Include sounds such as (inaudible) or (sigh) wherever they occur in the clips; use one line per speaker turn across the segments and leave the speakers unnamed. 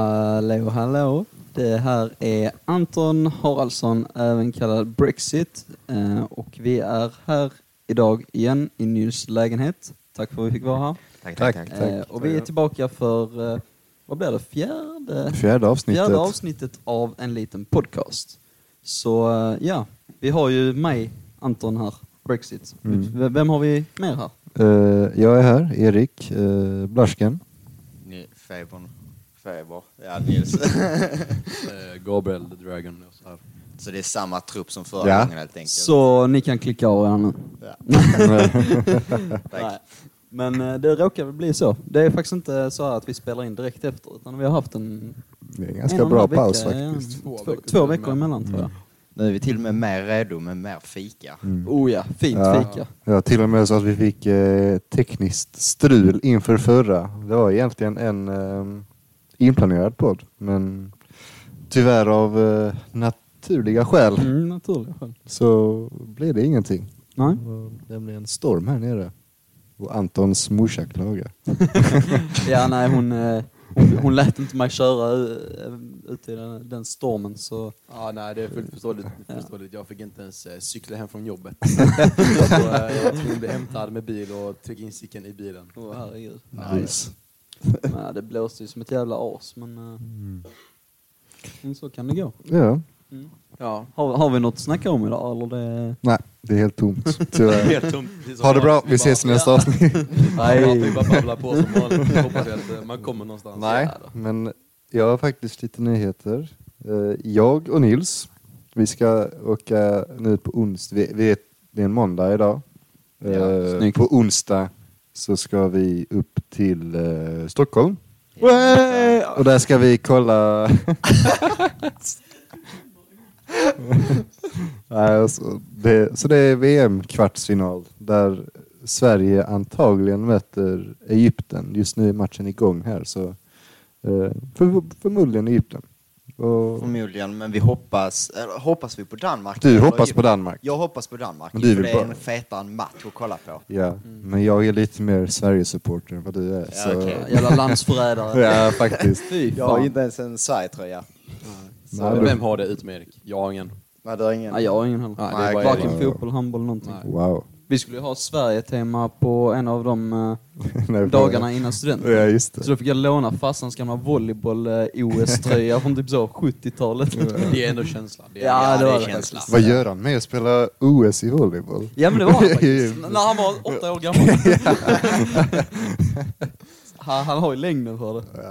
Hallå, hallå. Det här är Anton Haraldsson, även kallad Brexit. Eh, Och vi är här idag igen i Nils lägenhet. Tack för att vi fick vara här.
Tack, tack,
Tack.
tack.
Eh, Och vi är tillbaka för, eh, vad blir det, fjärde?
Fjärde avsnittet.
Fjärde avsnittet av en liten podcast. Så eh, ja, vi har ju mig, Anton här, Brexit.
Mm.
V- Vem har vi mer här?
Eh, jag är här, Erik uh, Blarsken.
(laughs)
Ni, Febern. Feber. Ja, Nils. (laughs)
Eh, Gabriel the Dragon. och Så här.
så det är samma trupp som förra
Ja.
gången helt enkelt.
Så ni kan klicka av er nu.
Ja.
(laughs)
Tack.
Nej. Men eh, det råkar väl bli så. Det är faktiskt inte så här att vi spelar in direkt efter, utan vi har haft en...
Det är en
en
ganska
och en
bra
halv
paus
vecka, ja,
faktiskt.
Två,
Två
två,
veckor
veckor emellan tror jag.
Nu är vi till och med mer redo med mer fika.
Mm.
Oh ja, fint
Ja.
fika.
Ja, till och med så att vi fick eh, tekniskt strul inför förra. Det var egentligen en eh, inplanerad podd, men tyvärr av eh, naturliga skäl
Mm, naturliga skäl.
så blev det ingenting.
Nej.
Och Det blev en storm här nere. Och Antons morsa klagade.
Ja, nej, hon, eh, hon, hon lät inte mig köra eh, ut i den, den stormen så...
Ja, nej, det är fullt förståeligt.
Ja.
förståeligt. Jag fick inte ens eh, cykla hem från (laughs) jobbet. så, eh, jag var tvungen att bli hämtad med bil och trycka in cykeln i bilen.
Åh herregud.
Nice.
Nej, det blåste ju som ett jävla as men... eh, Men så kan det gå.
Ja,
Mm.
Ja.
Har, har vi något att snacka om idag eller det...
nej, det är helt tomt tyvärr.
(laughs) Helt tomt. precis som
Eh, Ha det bra,
vanligt.
vi ses i nästa avsnitt.
Bara, ja, vi bara babblar på som vanligt. Jag hoppas att eh, man kommer någonstans.
(laughs) Nej,
Ja, då.
men jag har faktiskt lite nyheter. Eh, Jag och Nils, vi ska åka nu på onsdag. Vi, vi är, det är en måndag idag. Eh,
Ja, snyggt.
på onsdag så ska vi upp till eh, Stockholm.
Ja.
Wey! Och där ska vi kolla... Nej, alltså, det, så det är VM-kvartsfinal där Sverige antagligen möter Egypten. Just nu är matchen igång här så eh, för, förmodligen Egypten. Och
Förmodligen, men vi hoppas, eller hoppas vi på Danmark?
du
Eller
hoppas på
Egypten?
Danmark?
Jag hoppas på Danmark,
Men du
för
vill
det
bara-
är en fetare match att kolla på.
Ja, men jag är lite mer Sverigesupporter än vad du är.
Ja,
så...
okej.
Jävla landsförrädare.
(laughs) ja faktiskt.
Fy
Jag har
fan.
inte ens en Sverige-tröja.
Nej, du-
Vem har det ut med Erik? Jag har ingen.
Nej, det är ingen.
Nej, jag har ingen heller.
Nej,
det är bara
Varken
Erik.
fotboll, handboll, någonting.
Nej.
Wow. (laughs)
Vi skulle ju ha Sverige-tema på en av de eh,
Nej,
dagarna innan studenten.
Ja, just
Så
det.
då fick jag låna farsans gamla volleyboll-OS-tröja från typ så 70-talet.
Det är ändå känsla. Det är,
Ja, det var det
känsla.
Vad gör han med att spela OS i volleyboll?
(laughs) Ja men det var han faktiskt, N- när han var åtta år gammal. han, han har ju längden för det.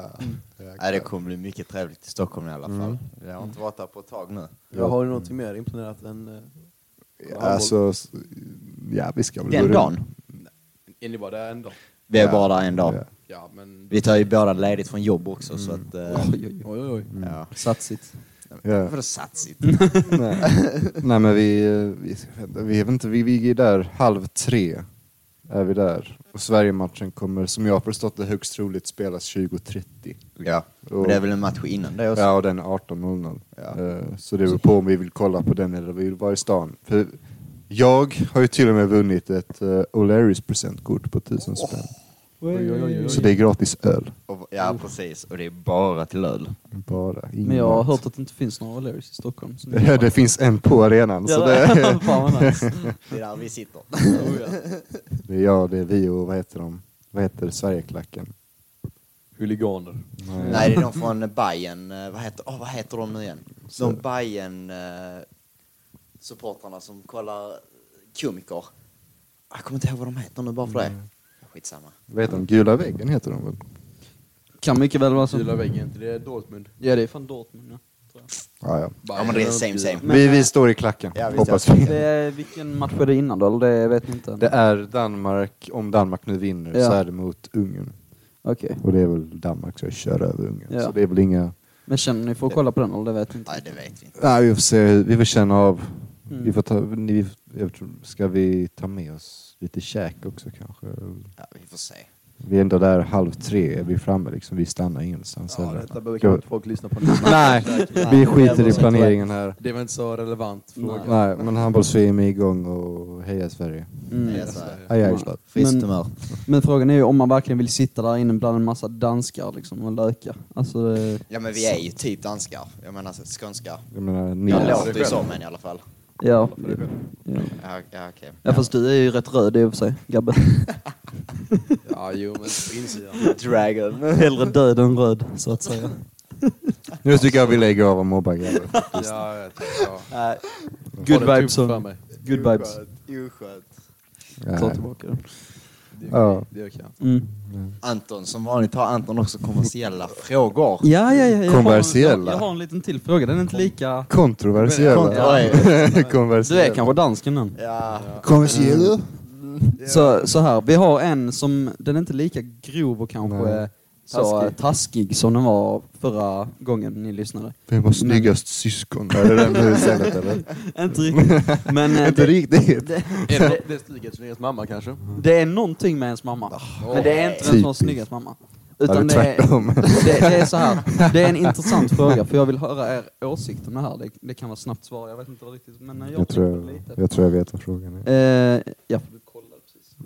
Nej, det kommer bli mycket trevligt i Stockholm i alla fall.
Mm.
Jag har inte varit där på ett tag nu.
Jag har du någonting mer imponerat än... eh,
Alltså, s- ja vi ska väl
Den
gå
dagen.
Är ni bara där en dag?
Vi är bara där en dag.
Ja.
Ja, men...
Vi tar ju båda ledigt från jobb också, så att... eh,
Mm. Oj, oj, oj. Mm.
Oj, oj, oj.
Ja.
Satsigt.
Ja.
Vadå satsigt?
Nej. (laughs) Nej men vi, eh, vi, vi, vi, inte, vi, vi är där halv tre. Är vi där. Och Sverige-matchen kommer, som jag har förstått det, högst troligt spelas 20.30.
Ja,
Och-
men det är väl en match innan det också?
Ja, och den är 18.00.
Ja.
Eh, Så det beror på om vi vill kolla på den eller vi vill vara i stan. För jag har ju till och med vunnit ett uh, O'Learys presentkort på 1000 spänn.
oj, oj, oj, oj.
Så det är gratis öl.
Och, ja,
Oh.
precis. Och det är bara till öl.
Bara. ingen
Men jag har
mat.
hört att det inte finns några O'Learys i Stockholm. Så
Ja, (laughs) det finns en på arenan. Så det,
det... (laughs) Fan vad nice.
Det är där vi sitter.
Oh, ja.
det är jag, det är vi och vad heter de? Vad heter Sverigeklacken?
Huliganer.
Mm.
Nej, det är de från Bayern. eh, Vad heter, åh vad heter de nu igen?
Så-
De bayern eh, supportrarna som kollar komiker. Jag kommer inte ihåg vad de heter nu bara för det.
Mm.
Skitsamma.
Vad heter de? Gula väggen heter de väl?
Kan mycket väl vara
Gula
så.
väggen, inte det är Dortmund.
Ja det är fan Dortmund ja. tror jag.
Ja, ja.
Ja, men det är same same.
Men-
Vi, vi står i klacken,
Ja, vi
hoppas
står i
vi.
Det är, vilken match är det innan då? Eller det vet ni inte?
Det är Danmark, om Danmark nu vinner
Ja.
så är det mot Ungern.
Okej.
Och det är väl Danmark som kör över Ungern.
Ja.
Så det är väl inga...
Men känner ni för att kolla på den eller det vet ni inte?
Nej, det vet vi inte.
Nej, vi får se, hur- vi får känna av.
Mm.
Vi får ta, ni, jag tror, ska vi ta med oss lite käk också kanske?
Ja, vi får se.
Vi är ändå där halv tre, är vi framme liksom. Vi stannar ingenstans.
Ja,
heller.
detta behöver kanske inte folk lyssna på. nu.
Nej, vi skiter i planeringen här.
Det var inte så relevant fråga.
Nej, men handbolls-VM är igång och heja Sverige.
Mm.
Det är så här,
Heja Island.
Men-
Friskt humör.
Men frågan är ju om man verkligen vill sitta där inne bland en massa danskar liksom och lökar. Alltså det,
Ja men vi är ju typ danskar. Jag menar så- skånska.
Jag menar, ni...
Jag
Ja, det är
låter ju
själv.
som en i alla fall.
ja. Ja.
Ja, ja okej.
ja fast du är ju rätt röd i och för sig, Gabbe.
Ja, jo, men på (laughs) insidan.
Dragon.
Hellre död än röd, så att säga.
Nu tycker jag vi lägger av och mobbar
(laughs)
grabbar.
Ja, jag vet. Ja.
Good
Har det
vibes.
tufft
only.
typ för mig.
Good vibes.
Oskönt.
Ta
Nej.
tillbaka den.
Det,
Ja.
det orkar jag inte.
Mm.
Anton, som vanligt har Anton också kommersiella frågor.
Ja, ja, ja. Jag
Konversiella.
Har, en- jag har en liten till fråga. Den är inte lika...
Kontroversiella.
Du är
(laughs) Kontroversiella. Mm.
kanske dansken den?
Ja.
Kontroversiella.
Så, så här, vi har en som, den är inte lika grov och kanske
Nej.
så taskig.
Taskig.
taskig som den var förra gången ni
(laughs)
lyssnade.
Vem har snyggast
Mm.
syskon? Är det den du
(laughs)
säger eller?
inte riktigt. Men eh,
Inte
det,
riktigt.
det,
Är det, det är Stig Edströms mamma kanske?
det är någonting med ens mamma. Men det är inte vem som har
Typiskt.
snyggast mamma.
Ja, det är
Utan det, är,
tvärtom.
(laughs) det, det är så här, det är en intressant fråga för jag vill höra er åsikt om det här. Det, det kan vara snabbt svar, jag vet inte vad riktigt. Men eh, jag,
Jag tror
tänkte lite.
jag, tror jag vet vad frågan är.
Eh, ja.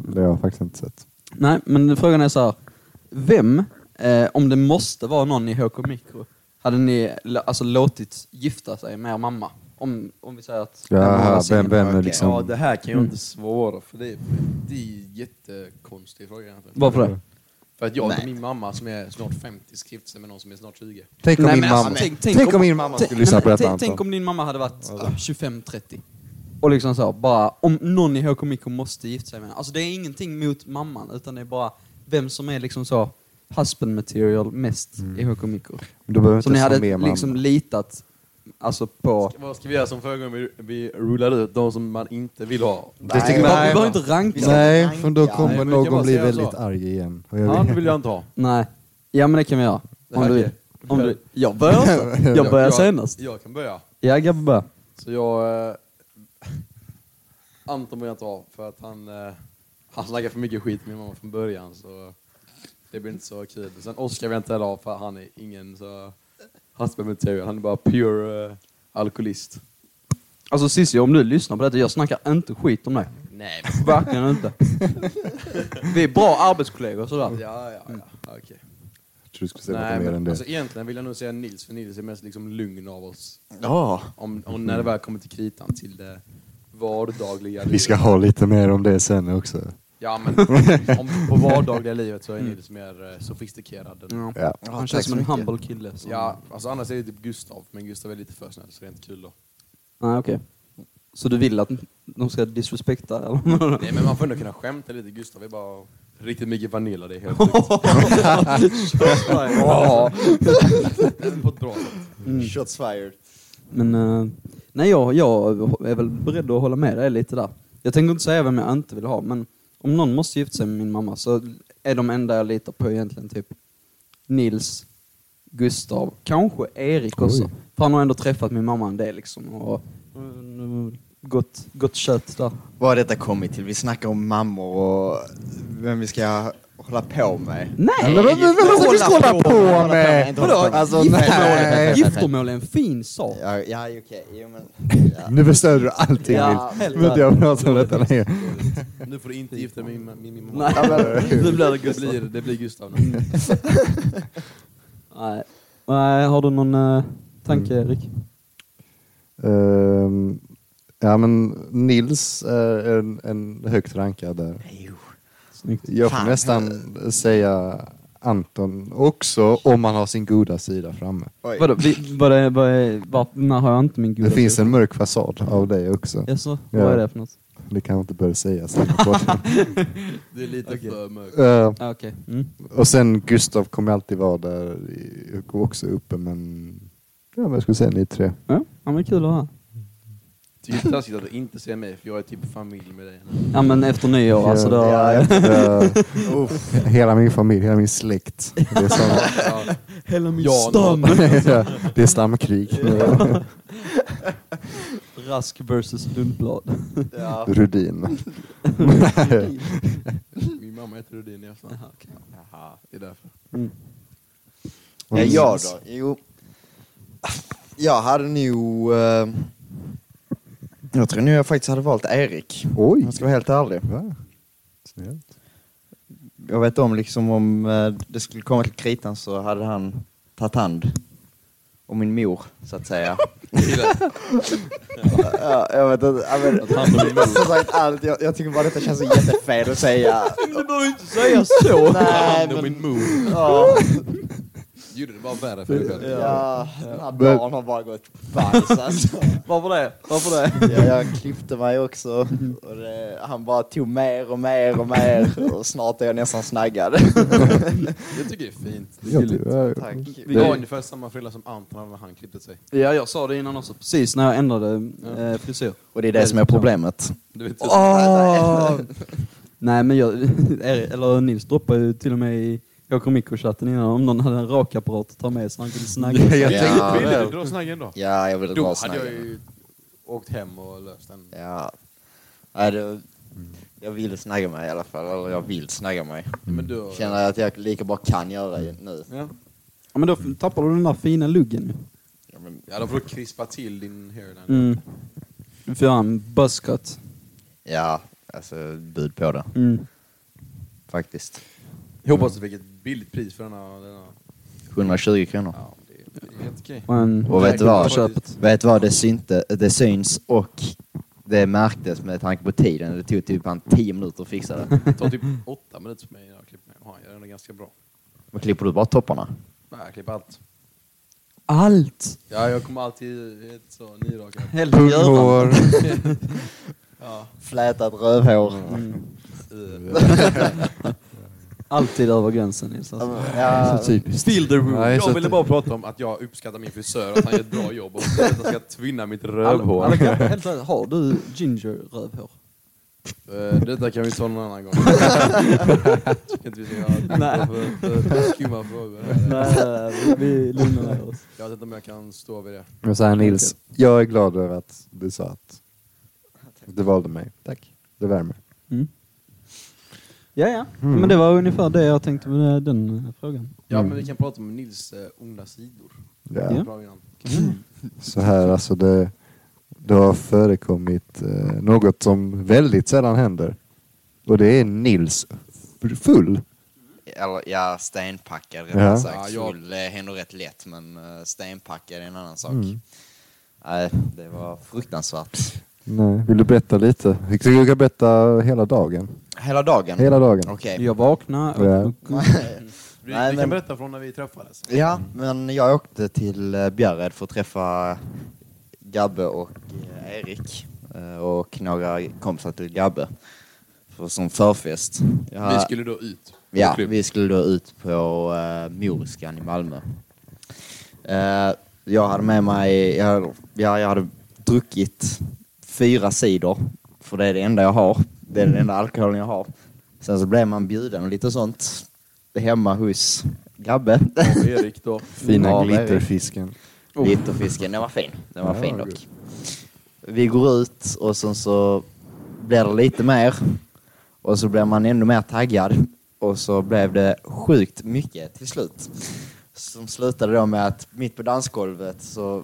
Det har jag faktiskt inte sett.
Nej, men frågan är så här. Vem, eh, om det måste vara någon i HK Mikro, hade ni l- alltså låtit gifta sig med er mamma? Om, om vi säger att...
Ja,
den var
vem-
singel.
vem är
Okej.
liksom-
Ja, det här kan jag
Mm.
inte svara för det är, det är en jättekonstig fråga egentligen.
Varför det?
För att jag och
Nej.
min mamma som är snart 50 skrivit sig med någon som är snart 20.
Tänk om
Nej,
min
men alltså,
mamma...
tänk- tänk
Tänk
om-
om min mamma
Tänk-
skulle lyssna på
nej, men
detta
tänk- Tänk
Anton.
om din mamma hade varit ah,
Alltså.
25-30. Och liksom så här, bara, om någon i HK Mikro måste gifta sig med henne. Alltså det är ingenting mot mamman, utan det är bara vem som är liksom så husband material mest i HK Mikro.
Du Mm. behöver
Som ni
inte ha
hade
med mamma.
liksom litat alltså på...
Vad ska vi göra som förra gången vi, vi rullade ut de som man inte vill ha?
Det
Vi
tycker jag-
behöver vi
Nej,
behöver inte ranka dem.
Nej, för då
Nej,
kommer
men vi kan bara
någon bli
säga så.
väldigt arg igen. Och
Han
jag
vill jag inte ha.
Nej. Ja men det kan vi göra.
Det
Om
här
du vill.
är-
Om du, jag (laughs) börjar också. Jag börjar senast.
Jag, kan börja.
Ja Gabbe börjar.
Så jag... Eh, (laughs) Anton vill jag inte ha för att han, eh, han snackar för mycket skit med min mamma från början så det blir inte så kul. Sen Oskar vill jag inte heller ha för han är ingen så husband material. Han är bara pure eh, alkoholist.
Alltså Cissi om du lyssnar på detta, jag snackar inte skit om dig.
Nej.
Verkligen inte. (laughs) Vi är bra arbetskollegor sådär.
Ja, ja, ja. Okej.
tror du skulle säga
Nej,
något mer än
men, alltså,
det.
egentligen vill jag nog säga Nils, för Nils är mest liksom lugn av oss.
Ja.
Om, om när det väl kommer till kritan, till det vardagliga
Vi
livet.
ska ha lite mer om det sen också.
Ja, men om, på vardagliga livet så är Nils mer eh, sofistikerad. Än,
Ja.
Ja.
Han känns som en
mycket.
humble kille. som-
Ja, alltså annars är det typ Gustav, men Gustav är lite för snäll så det är inte kul då.
Nej okej. Så du vill att de ska disrespekta eller?
Nej men man får ändå kunna skämta lite, Gustav är bara riktigt mycket vanilla, det är
(laughs)
helt sjukt. Ja. Nej, men på ett bra sätt.
Shots fired.
Men eh, nej, jag, jag är väl beredd att hålla med dig lite där. Jag tänker inte säga vem jag inte vill ha, men om någon måste gifta sig med min mamma så är de enda jag litar på egentligen typ Nils, Gustav, kanske Erik också.
Oj.
För han har ändå träffat min mamma en del liksom. Och, mm, gott, gott kött där.
Vad har detta kommit till? Vi snackar om mammor och vem vi ska hålla på med.
Nej!
Men vad- vad- vad ska vi skåla på med?
Vadå?
Alltså,
Giftermål-
nej.
Giftermål är en fin sak.
Ja, ja okej. Jo, men... Ja.
Nu förstör du allting
Ja,
Nils.
helvete.
Nu vill inte jag prata om detta längre.
Dåligt. Nu får du inte gifta dig med min, min mamma.
Nej, nu blir det
Det
Gustav.
blir, det blir Gustav nu.
Nej. Nej, har du någon eh, tanke Erik?
Ehm, ja men Nils är en, en högt rankad där.
Jo.
Snyggt.
Jag får
Fan.
nästan säga Anton också om man har sin goda sida framme.
Oj.
Vadå, vi, vad är, vad är, var, när har jag inte min gula
Det finns en mörk fasad av dig också.
Jaså,
Ja.
vad är det för något?
Det kan jag inte börja säga. sen på podden.
Det är lite för mörkt.
Ehm,
Ah, Okej. Mm.
och sen Gustav kommer alltid vara där. Jag går också uppe men... Ja men jag skulle säga ni tre.
Ja, ja, men kul att höra.
Tycker det är taskigt att du inte ser mig, för jag är typ familj med dig.
Ja men efter nyår alltså då...
Ja, ja. (laughs)
Ehm, hela min familj, hela min släkt. Det är, samma,
(laughs)
Ja,
Hela min
Ja,
stam!
det är stamkrig.
Rask versus Lundblad.
Ja.
Rudin.
min Ja, men jag heter Rudin i efternamn.
Jaha, okej.
Jaha, det är därför.
(laughs) Ja, jag då? Jo. Jag hade nog... Eh, jag tror nog jag faktiskt hade valt Erik.
Oj.
Om jag ska vara helt ärlig.
Va? Snällt.
Jag vet om liksom om eh, det skulle komma till kritan så hade han tagit hand om min mor, så att säga. ja, jag vet inte. ja, men- Som sagt, allt, jag, jag tycker bara detta känns så jättefel att säga.
Du behöver inte säga så!
Nej,
men...
men-
min mor.
Ja,
Gjorde det bara värre för dig själv.
ja, den här dagen har bara gått bajs alltså.
Varför det? Varför det?
Ja, jag klippte mig också. Och det, han bara tog mer och mer och mer och snart är jag nästan snaggad.
Jag tycker det är fint.
Ja, du är-
Tack.
Vi har ungefär samma frilla som Anton hade när han klippte sig.
Ja, jag sa det innan också. Precis när jag ändrade eh, frisyr.
Och det är det som är problemet.
Du vet,
Åh! (laughs) Nej men jag, (laughs) Erik- eller Nils droppade ju till och med i Jakob Mikko-chatten innan om någon hade en rakapparat att ta med så han kunde snagga.
(laughs)
Jag
Ja.
tänkte-
Ville du dra snaggen då?
Ja, jag ville
Då
dra
hade jag
snaggen.
ju åkt hem och löst den.
Ja. Nej, det, jag ville snagga mig i alla fall, eller jag vill snagga mig.
Men du...
Känner jag att jag lika bra kan göra det nu.
Ja.
Ja, men då tappar du den där fina luggen ju.
Ja, men,
Ja, då får du krispa till din hairline.
Mm. Du får göra en buzzcut.
ja alltså bud på det
Mm.
faktiskt.
Jag hoppas du fick ett billigt pris för denna... denna.
120 kronor.
Ja, det är, det är helt okej.
Och en
Och vet du
på
vad?
köpet.
Vet du vad? Det, synte, det syns och det märktes med tanke på tiden. Det tog typ en 10 minuter att fixa det.
Det tar typ åtta minuter för mig när jag klipper mig. Och han gör det ganska bra.
Men klipper du bara topparna?
Nej, jag klipper allt.
Allt!
Ja, jag kommer alltid helt så nyrakad.
Helt Göran.
Punghår.
Ja.
Flätat rövhår.
Mm.
Alltid över gränsen Nils. Alltså.
Ja,
Så typiskt.
Still the rule.
Nej, så
jag
att
ville
det-
bara prata om att jag uppskattar min frisör, att han gör ett bra jobb och att jag ska tvinna mitt
Alla,
rövhår.
alla grabbar, helt ärligt, har du ginger-rövhår?
Eh, Detta kan vi ta någon annan gång. Jag tycker inte vi ska
Nej.
ha för- för- för skumma frågor. här.
Nej, vi lugnar ner oss.
Jag vet inte om jag kan stå vid det.
Men så här Nils, jag är glad över att du sa att du valde mig. Tack. Det värmer.
Mm. Ja, ja. Men det var ungefär det jag tänkte med den eh, frågan.
Ja, men vi kan prata om Nils eh, onda sidor.
Ja.
Ja.
Bra innan.
Så här alltså det, det har förekommit eh, något som väldigt sällan händer. Och det är Nils f- full.
eller, ja stenpackad
Ja.
rättare sagt.
Ja, jag-
Full det händer rätt lätt men eh, stenpackad är en annan sak.
Mm.
Nej, det var fruktansvärt.
Nej. Vill du berätta lite? Jag tycker du kan berätta hela dagen.
Hela dagen?
Hela dagen.
Okej.
Jag vaknade
Ja.
och...
Vi,
Nej,
vi
men-
kan berätta från när vi träffades.
Ja, men jag åkte till eh, Bjärred för att träffa Gabbe och eh, Erik eh, och några kompisar till Gabbe för, som förfest. Jag-
Vi skulle då ut.
Ja,
På klubb.
vi skulle då ut på uh, Moriskan i Malmö. Eh, jag hade med mig, jag, hade- ja, jag hade druckit fyra cider, för det är det enda jag har. Det är den enda alkoholen jag har. Sen så blev man bjuden och lite sånt hemma hos Gabbe. (laughs)
Och Erik då.
Fina
Ja, det är det.
glitterfisken.
Oh. Glitterfisken, den var fin. Den var
Ja,
fin
vad
dock. Vi går ut och sen så blir det lite mer. Och så blir man ännu mer taggad. Och så blev det sjukt mycket till slut. Som slutade då med att mitt på dansgolvet så...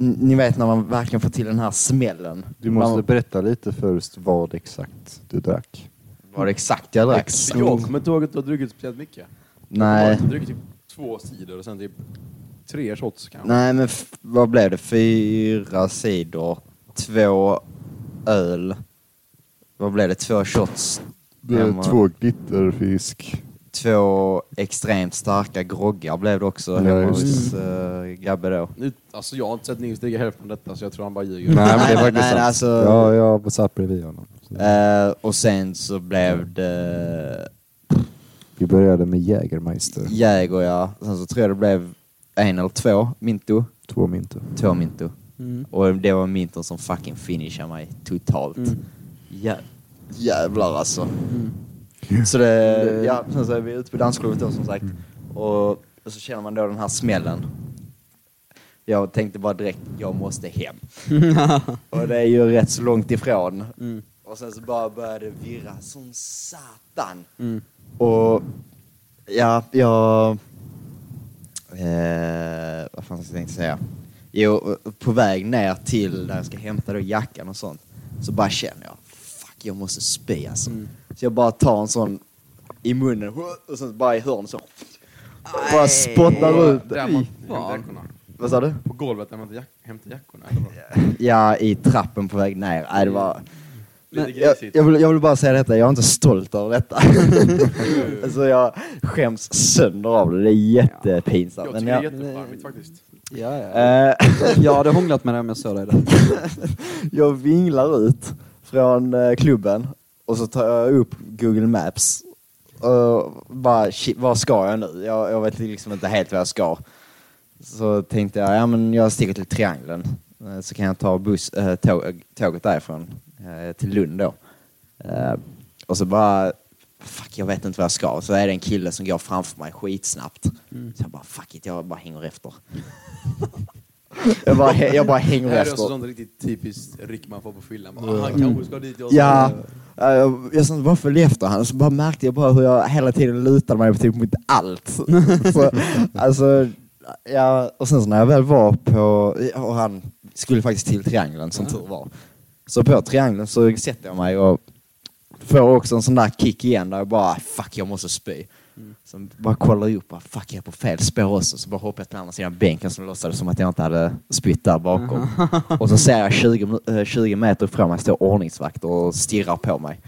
N- Ni vet när man verkligen får till den här smällen.
Du måste
Man-
berätta lite först vad exakt du drack.
Var det exakt jag drack?
För jag kommer inte ihåg att du har druckit speciellt mycket. Jag
Nej.
har druckit typ två sidor och sen typ tre shots kanske.
Nej men f- vad blev det? Fyra sidor, två öl. Vad blev det? Två shots?
Det
Hemma.
är två glitterfisk.
två extremt starka groggar blev det också
Ja,
hemma
just
hos eh, Gabbe då.
Nu, alltså jag har inte sett Nils dricka hälften av detta så jag tror han bara
(laughs)
ljuger.
Nej, men det
nej,
är faktiskt
nej,
sant.
alltså-
Ja, jag satt bredvid honom. Så
Eh, och sen så blev det
Vi började med Jägermeister.
Jäger, ja. Sen så tror jag det blev en eller två Minto.
Två Minto.
Två Minto.
Mm.
Och det var Minton som fucking finishade mig totalt.
Mm.
Jä- jävlar alltså.
Mm.
Så det, ja, sen så är vi ute på dansgolvet då som sagt. Och så känner man då den här smällen.
(laughs)
Jag tänkte bara direkt, jag måste hem. och det är ju rätt så långt ifrån.
Mm.
Och sen så bara började det virra som satan.
Mm.
Och ja, jag... Eh, vad fan ska jag tänkte säga? Jo, på väg ner till där jag ska hämta då jackan och sånt så bara känner jag fuck jag måste spy alltså.
Mm.
Så jag bara tar en sån i munnen och sen bara i hörnet så. Bara spottar ut.
Där man hämtar
fan.
jackorna.
Vad sa du?
På golvet där man hämtar jack- hämtar jackorna. eller vad?
Ja, i trappen på väg ner. Nej, det var...
Lite
jag,
Mm. grisigt.
jag, vill, jag vill bara säga detta, jag är inte stolt över
(laughs)
detta. alltså jag skäms sönder av det, det är jättepinsamt.
Jag
Men
tycker det är
jag,
jättecharmigt faktiskt.
Ja, ja.
eh,
jag hade hånglat med dig om jag såg dig där.
jag vinglar ut från eh, klubben och så tar jag upp Google Maps. Och bara, shit, vad ska jag nu? Jag, jag vet liksom inte helt vad jag ska. Så tänkte jag, ja men jag sticker till Triangeln. Eh, Så kan jag ta buss, eh, tåg, tåget därifrån eh, till Lund då. Eh, och så bara, fuck jag vet inte vad jag ska. Så är det en kille som går framför mig skitsnabbt.
Mm.
Så jag bara, fuck it, jag bara hänger efter. (laughs) jag, bara, hä- jag bara hänger
Det här är alltså
efter.
också sånt riktigt typiskt ryck man får på fyllan. Bara, "Ah, Han kanske ska dit, jag ska
Mm. Ja,
dit."
eh, jag- jag satt bara och följde efter honom, så bara märkte jag bara hur jag hela tiden lutade mig typ mot allt. (laughs) så, alltså, ja, och sen så när jag väl var på, och han skulle faktiskt till triangeln som tur var, så på triangeln så sätter jag mig och får också en sån där kick igen där jag bara fuck jag måste spy. Sen bara kollar jag upp, bara, fuck jag är på fel spår också, så bara hoppar jag till andra sidan bänken som låtsades som att jag inte hade spytt där bakom. Och så ser jag 20, minu- eh, 20 meter ifrån mig står ordningsvakter och stirrar på mig.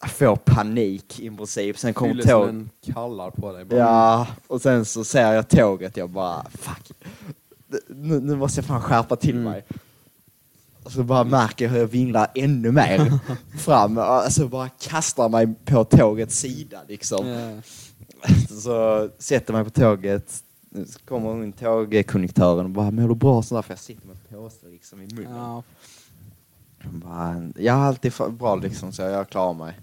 Jag får panik i princip, sen kommer tåg.
Fyllesmän kallar på dig. Bara,
Ja, och sen så ser jag tåget, jag bara fuck. Nu, nu måste jag fan skärpa till mig. Och så bara märker jag hur jag vinglar ännu mer fram. Alltså bara kastar mig på tågets sida liksom.
Ja.
(laughs) Så sätter mig på tåget. Så kommer hon tågkonduktören och bara mår du bra? Sådär, för jag sitter med en påse liksom i munnen.
Ja.
Hon bara, jag har alltid fa- bra liksom så jag klarar mig.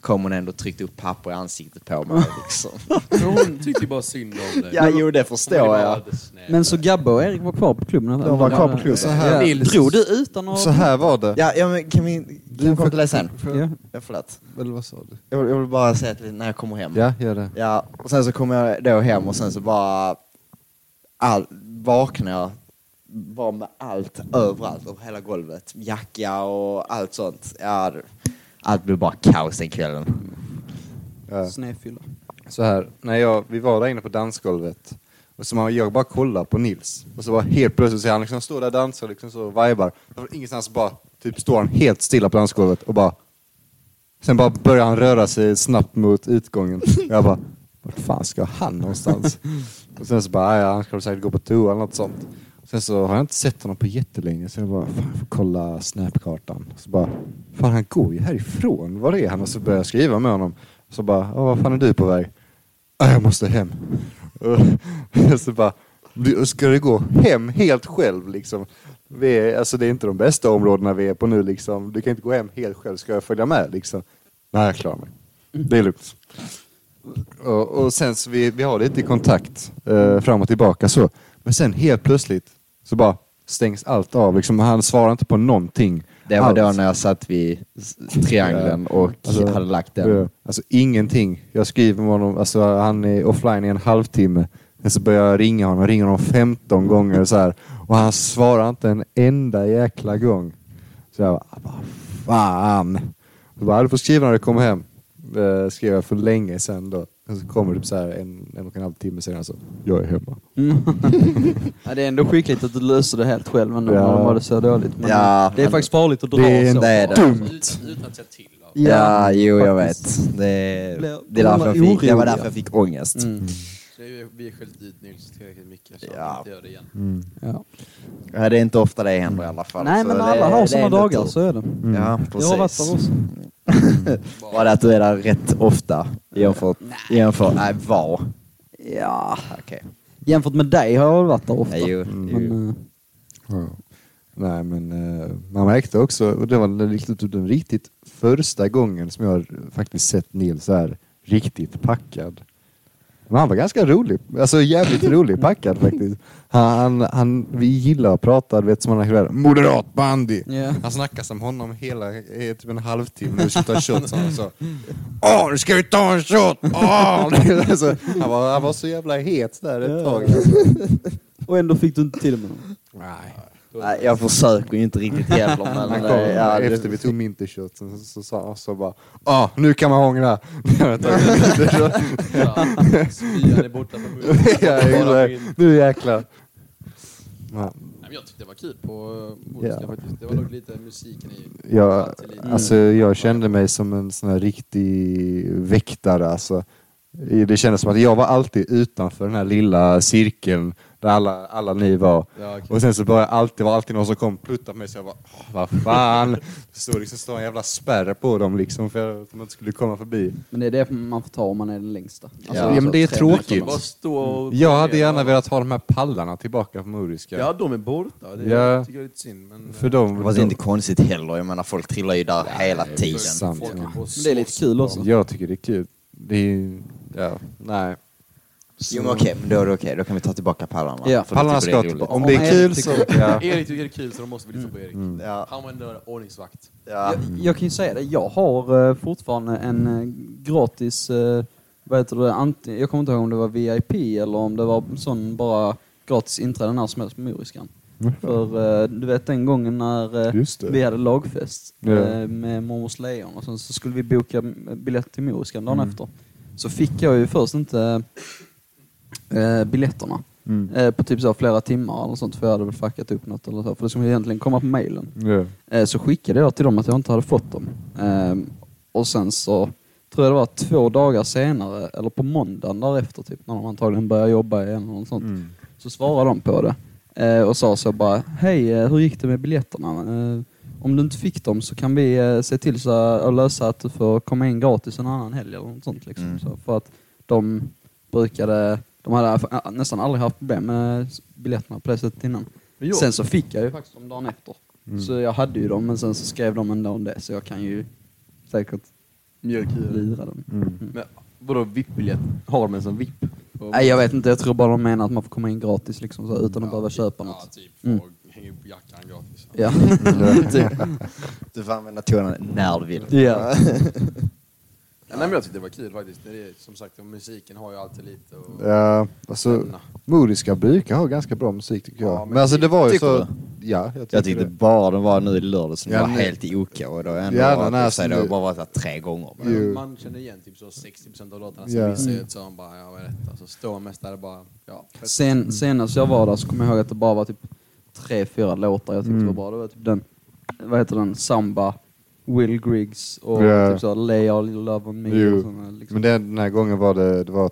Kom hon ändå och tryckte upp papper i ansiktet på mig liksom.
Men hon tyckte ju bara synd om dig.
ja, jo det förstår jag.
Men så Gabbe och Erik var kvar på klubben? eller?
De var kvar på klubben. Så här-
Ja. Drog du utan att...
Så här var det.
Ja, ja men kan vi, kan vi komma till det sen?
Ja.
Ja, förlåt.
Eller vad sa du?
Jag vill, jag vill bara säga att när jag kommer hem.
Ja, gör det.
Ja, och sen så kommer jag då hem och sen så bara all, vaknar jag bara med allt överallt, över hela golvet. Jacka och allt sånt. Ja, det- allt blev bara kaos den kvällen.
Ja.
Snedfylla.
så här, när jag, vi var där inne på dansgolvet och så man, jag bara kollar på Nils och så bara helt plötsligt så är han liksom står där och dansar liksom så och vibar. Och Från ingenstans bara typ står han helt stilla på dansgolvet och bara sen bara börjar han röra sig snabbt mot utgången. Och jag bara vart fan ska han någonstans? och sen så bara ja, han ska väl säkert gå på toa eller något sånt. Sen så har jag inte sett honom på jättelänge så jag bara fan jag får kolla snapkartan. Så bara fan han går ju härifrån. Var är han? Och så börjar jag skriva med honom. Så bara "Ja, vad fan är du på väg? "Ja, Ah, jag måste hem. (laughs) Och så bara, "Du, ska du gå hem helt själv liksom? Vi är, alltså det är inte de bästa områdena vi är på nu liksom. Du kan inte gå hem helt själv, ska jag följa med liksom? Nej, jag klarar mig. Det är lugnt. Och, och sen så vi, vi har lite kontakt eh, fram och tillbaka så. Men sen helt plötsligt så bara stängs allt av. Liksom, han svarar inte på någonting.
Det var då
alls.
när jag satt vid s- triangeln och
Alltså,
hade lagt den.
ja. Alltså ingenting. Jag skriver med honom, alltså han är offline i en halvtimme. Sen så börjar jag ringa honom, ringer honom 15 gånger så här. Och han svarar inte en enda jäkla gång. Så jag bara, vad fan. Jag bara, du får skriva när du kommer hem. Eh, skrev jag för länge sedan då. Sen så kommer det typ så här en, en och en halv timme senare så, jag är hemma.
Ja, det är ändå skickligt att du löser det helt själv ändå,
Ja.
när de var det så dåligt. Men
Ja,
det är
men-
faktiskt farligt att dra
Det är
så.
det är det.
Dumt! Utan att säga till. av-
Ja, jo jag
faktiskt.
vet. Det,
Blev
det, är därför jag fick, det var
oroliga.
därför jag fick ångest.
Mm.
Så det är ju- Vi har skällt ut Nils tillräckligt mycket så
Ja. Mm.
att vi inte gör det igen.
Ja.
Ja, det är inte ofta det händer i alla fall.
Nej,
så
men
det-
alla har
det är
sina
ändå
dagar,
tur. Mm.
så är det.
Ja, precis.
Jag har varit där också.
Bara det att du är där rätt ofta jämfört... Jämfört... Nej, var.
Ja.
Okej.
Jämfört med dig har jag varit där ofta.
Okay. Jo, jo.
Men, eh,
Ja. Nej men eh, man märkte också, och det var den riktigt, typ den riktigt första gången som jag har faktiskt sett Nils så här riktigt packad. Men han var ganska rolig. Alltså jävligt rolig packad faktiskt. Han, han, han, vi gillar att prata, du vet som han har skrivit, moderat bandy.
Ja.
Han snackar som honom hela, eh, typ en halvtimme när vi skulle ta en shot. Så han sa, Åh, nu ska vi ta en shot! Åh! (laughs) Alltså, han, var, han var så jävla het där ett tag. Alltså.
Och ändå fick du inte till med honom.
Nej.
Nej, jag försöker ju inte riktigt heller. Men,
Han
eh,
kom
ja, det-
efter vi tog mintershotsen så, så sa han så bara ah, nu kan man ångra. (laughs) Jag tar en mintershot.
Spyan är borta från munnen.
(laughs)
Ja,
Bara
exakt.
in.
Nu jäklar. Ja,
Nej, men jag tyckte det var kul på eh,
Ja.
Olska faktiskt. Det var nog lite musiken i.
Jag,
satt lite.
alltså, jag kände mig som en sån här riktig väktare. Alltså. Det kändes som att jag var alltid utanför den här lilla cirkeln där alla, alla ni var.
Ja, okej.
Och sen så började alltid, var alltid någon som kom och puttade på mig så jag bara, "Åh, vad fan. Det stod liksom stod en jävla spärr på dem liksom för att de inte skulle komma förbi.
Men det är det man får ta om man är den längsta.
Ja, men det är
tre
tråkigt.
minuter.
Bara stå
mm.
och...
Jag hade gärna velat ha de här pallarna tillbaka på Moriska.
Ja, de är borta. Det
Ja.
tycker jag är lite synd. Men, eh,
För dem,
Fast det är inte konstigt heller. Jag menar, folk trillar ju där hela tiden.
sant, ja.
Men det är lite kul också.
Alltså, Jag tycker det är kul. Det är ju, ja, nej.
Jo, men okej, men då är det okej. Då kan vi ta tillbaka pallarna.
Ja,
För då
Pallarna
tycker
ska
det är roligt.
tillbaka. Om det är kul så... Ja.
Erik tycker det är kul så de måste vi lyssna på Erik.
Ja.
Han var ändå ordningsvakt.
Ja.
Jag, jag kan ju säga det, jag har eh, fortfarande en eh, gratis, eh, vad heter det, anti, jag kommer inte ihåg om det var VIP eller om det var sån bara gratis inträde när som helst på Moriskan. För eh, du vet den gången när eh,
Just det.
vi hade lagfest
Ja.
eh, med Mormors Lejon och sen så skulle vi boka mm, biljett till Moriskan
Mm.
dagen efter. Så fick jag ju först inte eh, biljetterna.
Mm.
Eh, på typ så här flera timmar eller sånt för jag hade väl fuckat upp något eller så. För det skulle egentligen komma på mailen.
Ja.
Eh, så skickade jag till dem att jag inte hade fått dem. Ehm, och sen så tror jag det var två dagar senare, eller på måndagen därefter typ, när de antagligen började jobba igen eller något sånt,
Mm.
så svarade de på det. Eh, och sa så bara, hej eh, hur gick det med biljetterna? Eh, om du inte fick dem så kan vi eh, se till så att lösa att du får komma in gratis en annan helg eller något sånt. Liksom.
Mm.
Så, för att de brukade, de hade eh, nästan aldrig haft problem med biljetterna på det sättet innan.
Men jag-
Sen så fick jag ju faktiskt dem dagen efter.
Mm.
Så jag hade ju dem, men sen så skrev de ändå om det, så jag kan ju säkert
Mjölk i.
lira dem.
Mm.
Men vadå VIP-biljett? Har de en sån VIP?
Nej, jag vet inte. Jag tror bara de menar att man får komma in gratis liksom, så, utan att behöva köpa
Ja,
något.
typ.
Mm.
Och hänga upp jackan gratis.
(laughs)
Ja.
Typ. Du får använda tonen när du vill.
ja.
Ja, nej, men jag tyckte det var kul faktiskt. Det är, som sagt, musiken har ju alltid lite och...
Ja, alltså, Moriska brukar ha ganska bra musik tycker jag.
Ja, men
men, alltså det var ju
tycker
så...
du?
Ja, jag tycker
Jag tyckte
det.
bara den var nu i lördags, den
Ja,
var
nej.
helt i OK. Och då har jag ändå varit-
Ja, nej,
i och för
alltså,
sig, det har
nu-
bara varit där tre gånger. Men.
Men
Jo.
Man känner igen typ så 60% av låtarna som
Ja.
vi ser ut så han bara, ja vad är detta? Så står mest där och bara, ja.
(laughs)
fett.
Sen, senast jag var där så kommer jag ihåg att det bara var typ tre, fyra låtar jag tyckte
Mm.
var bra. Det var typ den, vad heter den, Samba, Will Griggs och
Ja.
typ så Lay All Your Love On Me.
Jo.
Och såna, liksom.
Men den, den här gången var det, det var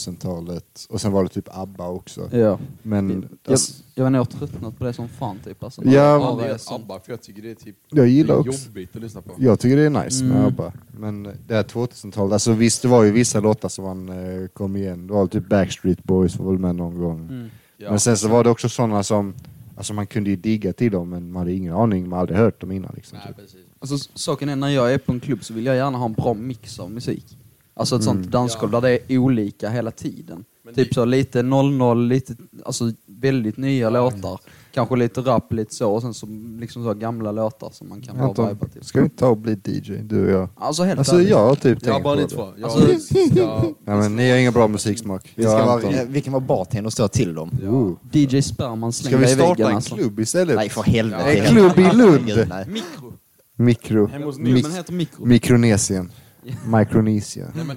2000-talet och sen var det typ ABBA också.
Ja.
Men
Jag,
alltså,
jag vet inte, jag har tröttnat på det som fan typ. Alltså,
Ja,
Ja,
det
det
är
är
sånt.
ABBA, för jag tycker det är typ
jag
det är
gillar också...
jobbigt att lyssna på.
Jag tycker det är nice med
Mm.
ABBA. Men det här 2000-talet, alltså visst det var ju vissa låtar som man eh, kom igen. Det var typ Backstreet Boys var väl med någon gång.
Mm.
Ja.
Men sen så var det också sådana som, alltså man kunde ju digga till dem men man hade ingen aning, man hade aldrig hört dem innan. Liksom,
Nej,
typ.
precis.
Alltså, s- saken är, när jag är på en klubb så vill jag gärna ha en bra mix av musik. Alltså ett sånt dansgolv där det är olika hela tiden.
Men
typ
det-
så lite 00, lite, alltså väldigt nya låtar. Kanske lite rap, lite så, och sen så, liksom så gamla låtar som man kan bara
Anton,
vibea till.
ska vi inte ta och bli DJ, du och jag?
Alltså helt
Alltså
ärligt.
jag har typ
Ja,
tänkt på
bara ni
det.
två. Jag,
Alltså-
jag,
Ja, men ni har ingen bra musiksmak.
Vi,
Jag
ska
och
vara,
Anton.
eh, vi kan vara bartender och stå till dem.
Oh.
DJ Sperman
Ska
slänger
vi
i väggen
starta en
alltså.
klubb istället?
Nej, för helvete.
En
klubb i Lund.
Herregud, nej.
Mikro.
Mikro...
Hemma hos
Mik-
Klubben heter Mikro.
Mikronesien. Micronesia.
nej, men,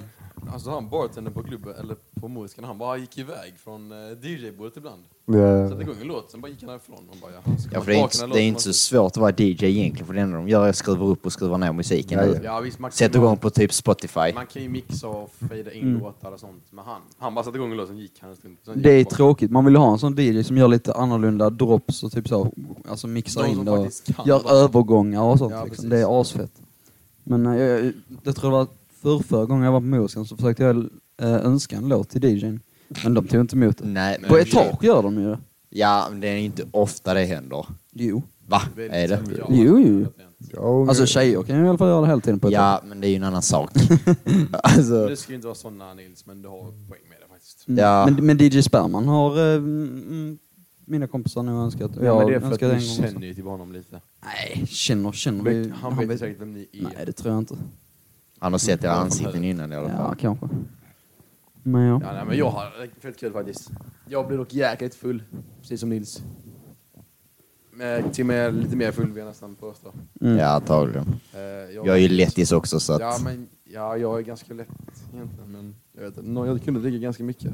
alltså han bartendern på klubben, eller på Moriskan, han bara gick iväg från eh, DJ-bordet ibland.
Ja.
Satte igång en låt, sen bara gick han härifrån. Man bara, jaha, ska
Ja,
man
för det är
baka
inte,
den här
det är
låten
inte så
också?
svårt att vara DJ egentligen, för det enda de gör är att skruva upp och skruva ner musiken.
Ja,
nu.
ja.
Ja, visst, man,
Sätt igång på typ Spotify.
man kan ju mixa och fejda in låtar och sånt. Men han, han bara satte igång en låt, sen gick han en stund. sen gick
Det
han
är
bara.
tråkigt, man vill ju ha en sån DJ som gör lite annorlunda drops och typ så, alltså mixar
Någon
in
som
det och
faktiskt kan
gör
dansa.
övergångar och sånt
Ja,
liksom.
precis.
Det är asfett. Men eh, jag, jag tror det var för, förra gången jag var på Moriskan så försökte jag eh, önska en låt till DJn. Men de tog inte emot
Mm.
det.
Nej,
På
men-
etage gör de ju det.
Ja, men det är inte ofta det händer.
Jo.
Va?
Det
Är
lite
det?
så-
Jo, jo.
Ja,
Alltså tjejer kan ju i alla fall göra det hela tiden på etage.
(laughs)
Ja, men det är ju en annan sak. alltså,
Det ska ju inte vara såna Nils, men du har poäng med det faktiskt.
Mm.
Ja.
Men, men DJ Sperman har eh, mm, mina kompisar nu önskat. och
Ja, men
jag
det är för att
önskade
ni
en gång också.
känner ju till honom lite.
Nej, känner, känner vi.
Men han vet säkert vem ni är.
Nej, det tror jag inte.
Han har sett era ansikten innan i alla
Ja,
fall.
kanske. Men ja.
Ja, nej, men jag har fett kul faktiskt. Jag blir dock jäkligt full, precis som Nils. Eh, Till och med lite mer full vill jag nästan påstå.
Mm.
Ja, antagligen.
Eh, Jag,
Jag är ju lättis också så
Ja,
att...
men, ja, jag är ganska lätt egentligen. Men jag, vet, inte. Nå- jag kunde dricka ganska mycket.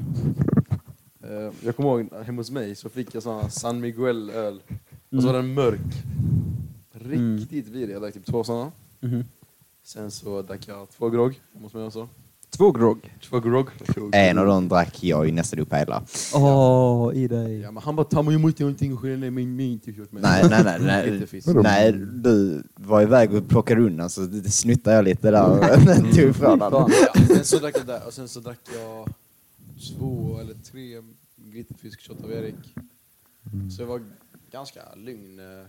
Eh, Jag kommer ihåg hemma hos mig så fick jag såna San Miguel-öl. Och så var den mörk. Riktigt vidrig. Jag drack typ två såna.
Mhm.
Sen så drack jag två grogg hemma hos mig också.
Två grogg.
Två grogg. Två
Äh, En av dem drack jag ju nästan upp hela.
Åh, i dig.
Ja, men han bara tar man ju emot någonting och skiljer ner min min t-shirt med.
Nej, nej, nej.
Lite
Nej,
fisk.
nej du var iväg och plockade undan så det snuttade jag lite där (laughs) och tog ifrån
Fan.
honom.
(laughs) Ja, sen så drack jag där och sen så drack jag två eller tre glitterfiskshot av Erik.
Mm.
Så jag var ganska lugn eh,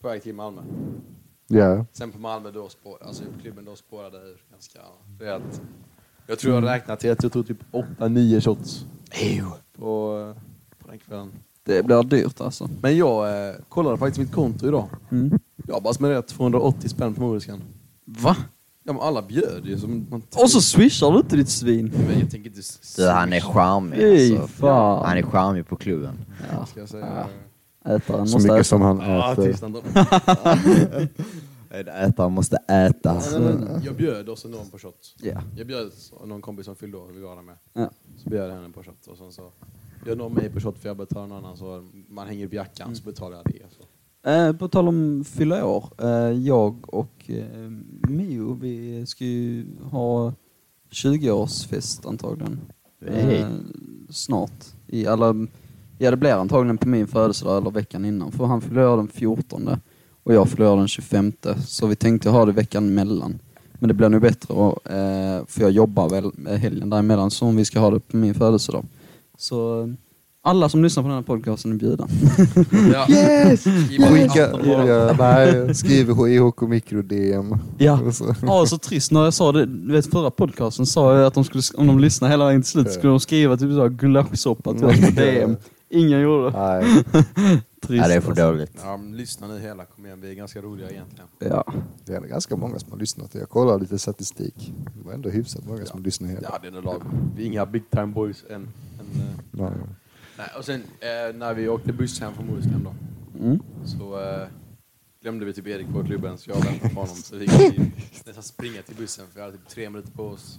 på väg till Malmö.
Ja.
Sen på Malmö då spår, alltså klubben då spårade ur ganska rejält. Jag tror jag räknat till att jag tog typ 8-9 shots på, eh, på den kvällen.
Det blir dyrt alltså.
Men jag eh, kollade faktiskt mitt konto idag.
Mm.
Jag har bara spenderat 280 spänn på Moriskan.
Va?
Ja men alla bjöd ju. Som man
Och så swishar du inte ditt svin.
Men jag tänker inte... s-
Du, han är charmig
Fy
alltså.
fan.
Han är charmig på klubben.
Ja.
Ska jag säga.
Ätaren
Så
måste
mycket
äta.
som han
Ja,
äter. (laughs)
tyst ändå.
En Ätare måste äta.
Alltså.
Nej, nej, nej. Jag bjöd också någon på shot.
Ja.
Jag bjöd någon kompis som fyllde år, vi var där med.
Ja.
Så bjöd jag henne på shot och sen så bjöd någon mig på shot för jag betalar någon annan så man hänger upp jackan så betalar jag det. Så.
Eh, på tal om fylla år. Eh, jag och eh, Mio, vi ska ju ha 20-årsfest antagligen.
Hej.
Eh, snart. I alla, ja, det blir antagligen på min födelsedag eller veckan innan. För han fyller år den 14 och jag fyller år den 25. Så vi tänkte ha det veckan emellan. Men det blir nog bättre och, eh, för jag jobbar väl med helgen däremellan som vi ska ha det på min födelsedag. Så eh, alla som lyssnar på den här podcasten är bjudna.
Ja. Yes!
Skicka, ja, nej, skriv i HK Micro DM.
Ja.
Och så-
Ja, (laughs) så trist när jag sa det. Du vet förra podcasten sa jag att de skulle, om de lyssnade hela vägen till slut skulle de skriva typ så här gulaschsoppa till (laughs) oss på DM. Ingen gjorde det.
Nej.
Trist. alltså.
Ja, det är för dåligt.
Ja, men lyssna nu hela, kom igen, vi är ganska roliga egentligen.
Ja.
Det är ganska många som har lyssnat. Jag kollar lite statistik. Det var ändå hyfsat många som lyssnade hela.
Ja, det är nog lagom. Vi är inga big time boys än. än eh.
Nej.
Nej, och sen eh, när vi åkte buss hem från Moriskan då,
Mm.
så eh, glömde vi typ Erik på klubben så jag väntade på honom. Så vi fick nästan springa till bussen för vi hade typ tre minuter på oss.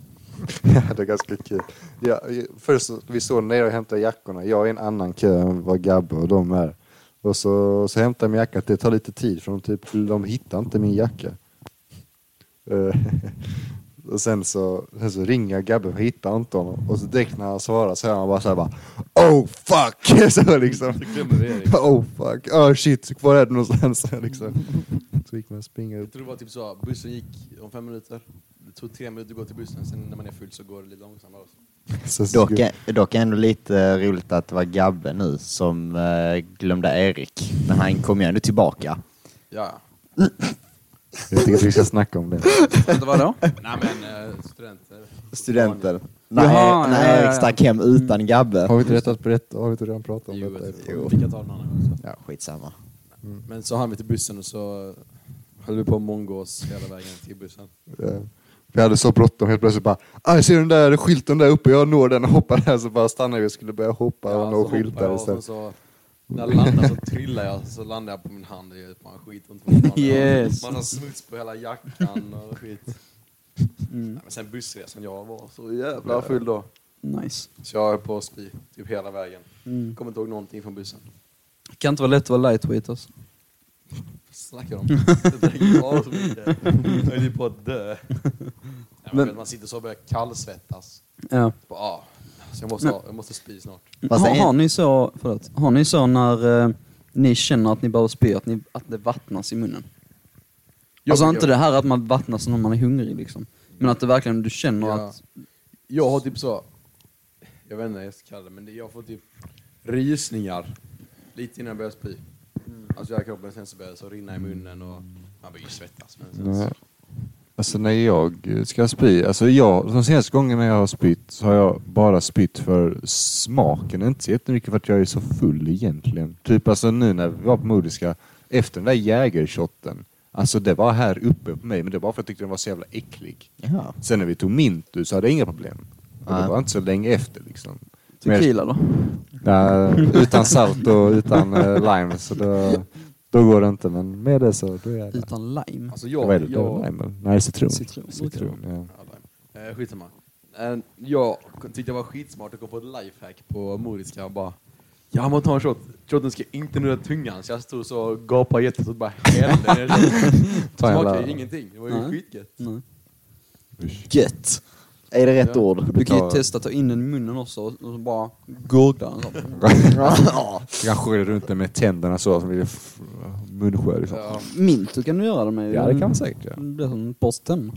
Ja, det är ganska kul. Ja, först så- vi står nere och hämtade jackorna. Jag är i en annan kö än vad Gabbe och de är. Och så, så hämtar jag min jacka. Det tar lite tid för de, typ, de hittar inte min jacka. Eh, (laughs) och sen så, sen så ringer jag Gabbe och hittar inte honom. Och så direkt när han svarar så är han bara så här bara Oh fuck! (laughs) Så liksom.
Så glömmer vi
(laughs)
Erik.
Oh fuck, oh shit, var är du någonstans? (laughs) liksom. Så gick man springa
Jag
upp.
tror det var typ så, bussen gick om fem minuter. Det tog tre minuter att gå till bussen, sen när man är full så går det lite långsammare. Också.
Så
Dock,
skulle-
dock ändå lite roligt att det var Gabbe nu som eh, glömde Erik. Men han kom ju ändå tillbaka.
Ja,
Jag tycker att vi ska snacka om det.
Vänta, vadå?
nej men eh, studenter.
Studenten. När, E-
Jaha,
när
ja, Mm. ja, ja.
Erik stack hem utan Gabbe.
Har vi inte rätt att berätta? Har vi inte redan pratat om
Jo,
detta?
jo. Vi kan ta den annan gång.
Ja, skitsamma.
sen. Men så hann vi till bussen och så höll vi på att månggås hela vägen till bussen.
Eh, Vi hade så bråttom helt plötsligt bara, aj ser du den där skylten där uppe? Jag når den och hoppar där. Så bara stannade vi och skulle börja hoppa och nå
så hoppade
skyltar
jag och sen
istället.
så, när jag landade så trillade jag, så landade jag på min hand. Det är ett man skit runt min hand.
Yes.
Massa smuts på hela jackan och skit. Nej, men sen bussresan, jag var så jävla full då.
Nice.
Så jag höll på att spy, typ hela vägen.
Mm.
Kommer inte ihåg någonting från bussen.
Kan inte vara lätt att vara lightweight alltså.
Vad snackar de om? Jag dricker av så mycket. Jag är typ på att dö. Nej, men
Men-
vet, man sitter så och börjar kallsvettas.
Ja.
Bara, ah, så jag, måste, ha- jag måste spy snart.
Fast
Har,
en-
har, ni så, förlåt, har ni så när eh, ni känner att ni behöver spy, att, ni, att det vattnas i munnen? alltså
jag,
inte det här att man vattnas när man är hungrig liksom. Men att det verkligen, du känner
Ja.
att...
Jag har typ så, jag vet inte vad jag ska kalla det, men det, jag får typ rysningar lite innan jag börjar spy.
Mm.
Alltså jag kroppen sen så börjar det så rinna i munnen och man börjar ju svettas. Men sen så,
Nej. Alltså när jag ska spy, alltså jag, de senaste gångerna jag har spytt så har jag bara spytt för smaken, inte så jättemycket för att jag är så full egentligen. Typ alltså nu när vi var på Modiska, efter den där jägershotten, alltså det var här uppe på mig, men det var för att jag tyckte den var så jävla äcklig.
Jaha.
Sen när vi tog Mintu så hade jag inga problem. Och det
Nej.
var inte så länge efter liksom. Men-
Tequila då?
Nej, utan salt och utan eh, lime så då, då går det inte, men med det så då är det.
Utan lime?
Alltså
Vad är
jag...
det?
jag
lime? eller? Nej, citron.
Citron.
citron ja.
Ja, eh, skitsamma. Eh, jag tyckte jag var skitsmart och gå på ett lifehack på Moriska och bara Ja, man tar en shot. Shoten ska inte nuddra tungan, så jag stod så och gapade jättestort och bara hällde ner den.
(laughs) Ta en
Smakade
jävla-
ju ingenting. Det var ju
Nej.
skitgött.
Nej.
(laughs)
Gött! Är det rätt
Ja.
ord?
Du kan ju
Ta-
testa att ta in den i munnen också och och bara gurgla den. så.
Du kan skölja runt det med tänderna så, som blir det f- liksom. munskölj. så.
Ja.
Mint, du kan du göra det med.
Ja, det kan man säkert göra.
Det blir som borsten.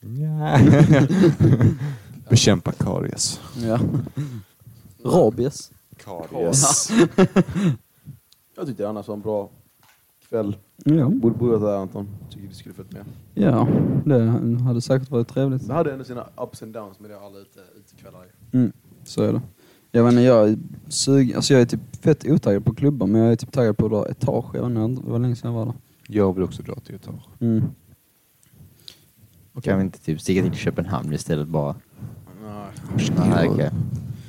(laughs)
Ja. Bekämpa karies.
Ja. (laughs) Rabies.
Karies. Jag tyckte annars var en bra kväll.
Ja.
Borde borde det här Anton. Mm. Tycker du skulle följt med.
ja, det hade säkert varit trevligt.
Det hade ändå sina ups and downs med det alla ute, utekvällar. ju.
Mm, så är det. Jag vet inte, jag är sug... alltså jag är typ fett otaggad på klubbar men jag är typ taggad på att dra etage. Jag vet inte, det var länge sedan jag var där.
Jag vill också dra till Göteborg.
Mm.
(laughs) Kan vi inte typ sticka till Köpenhamn istället bara?
Nej.
Nej, okej.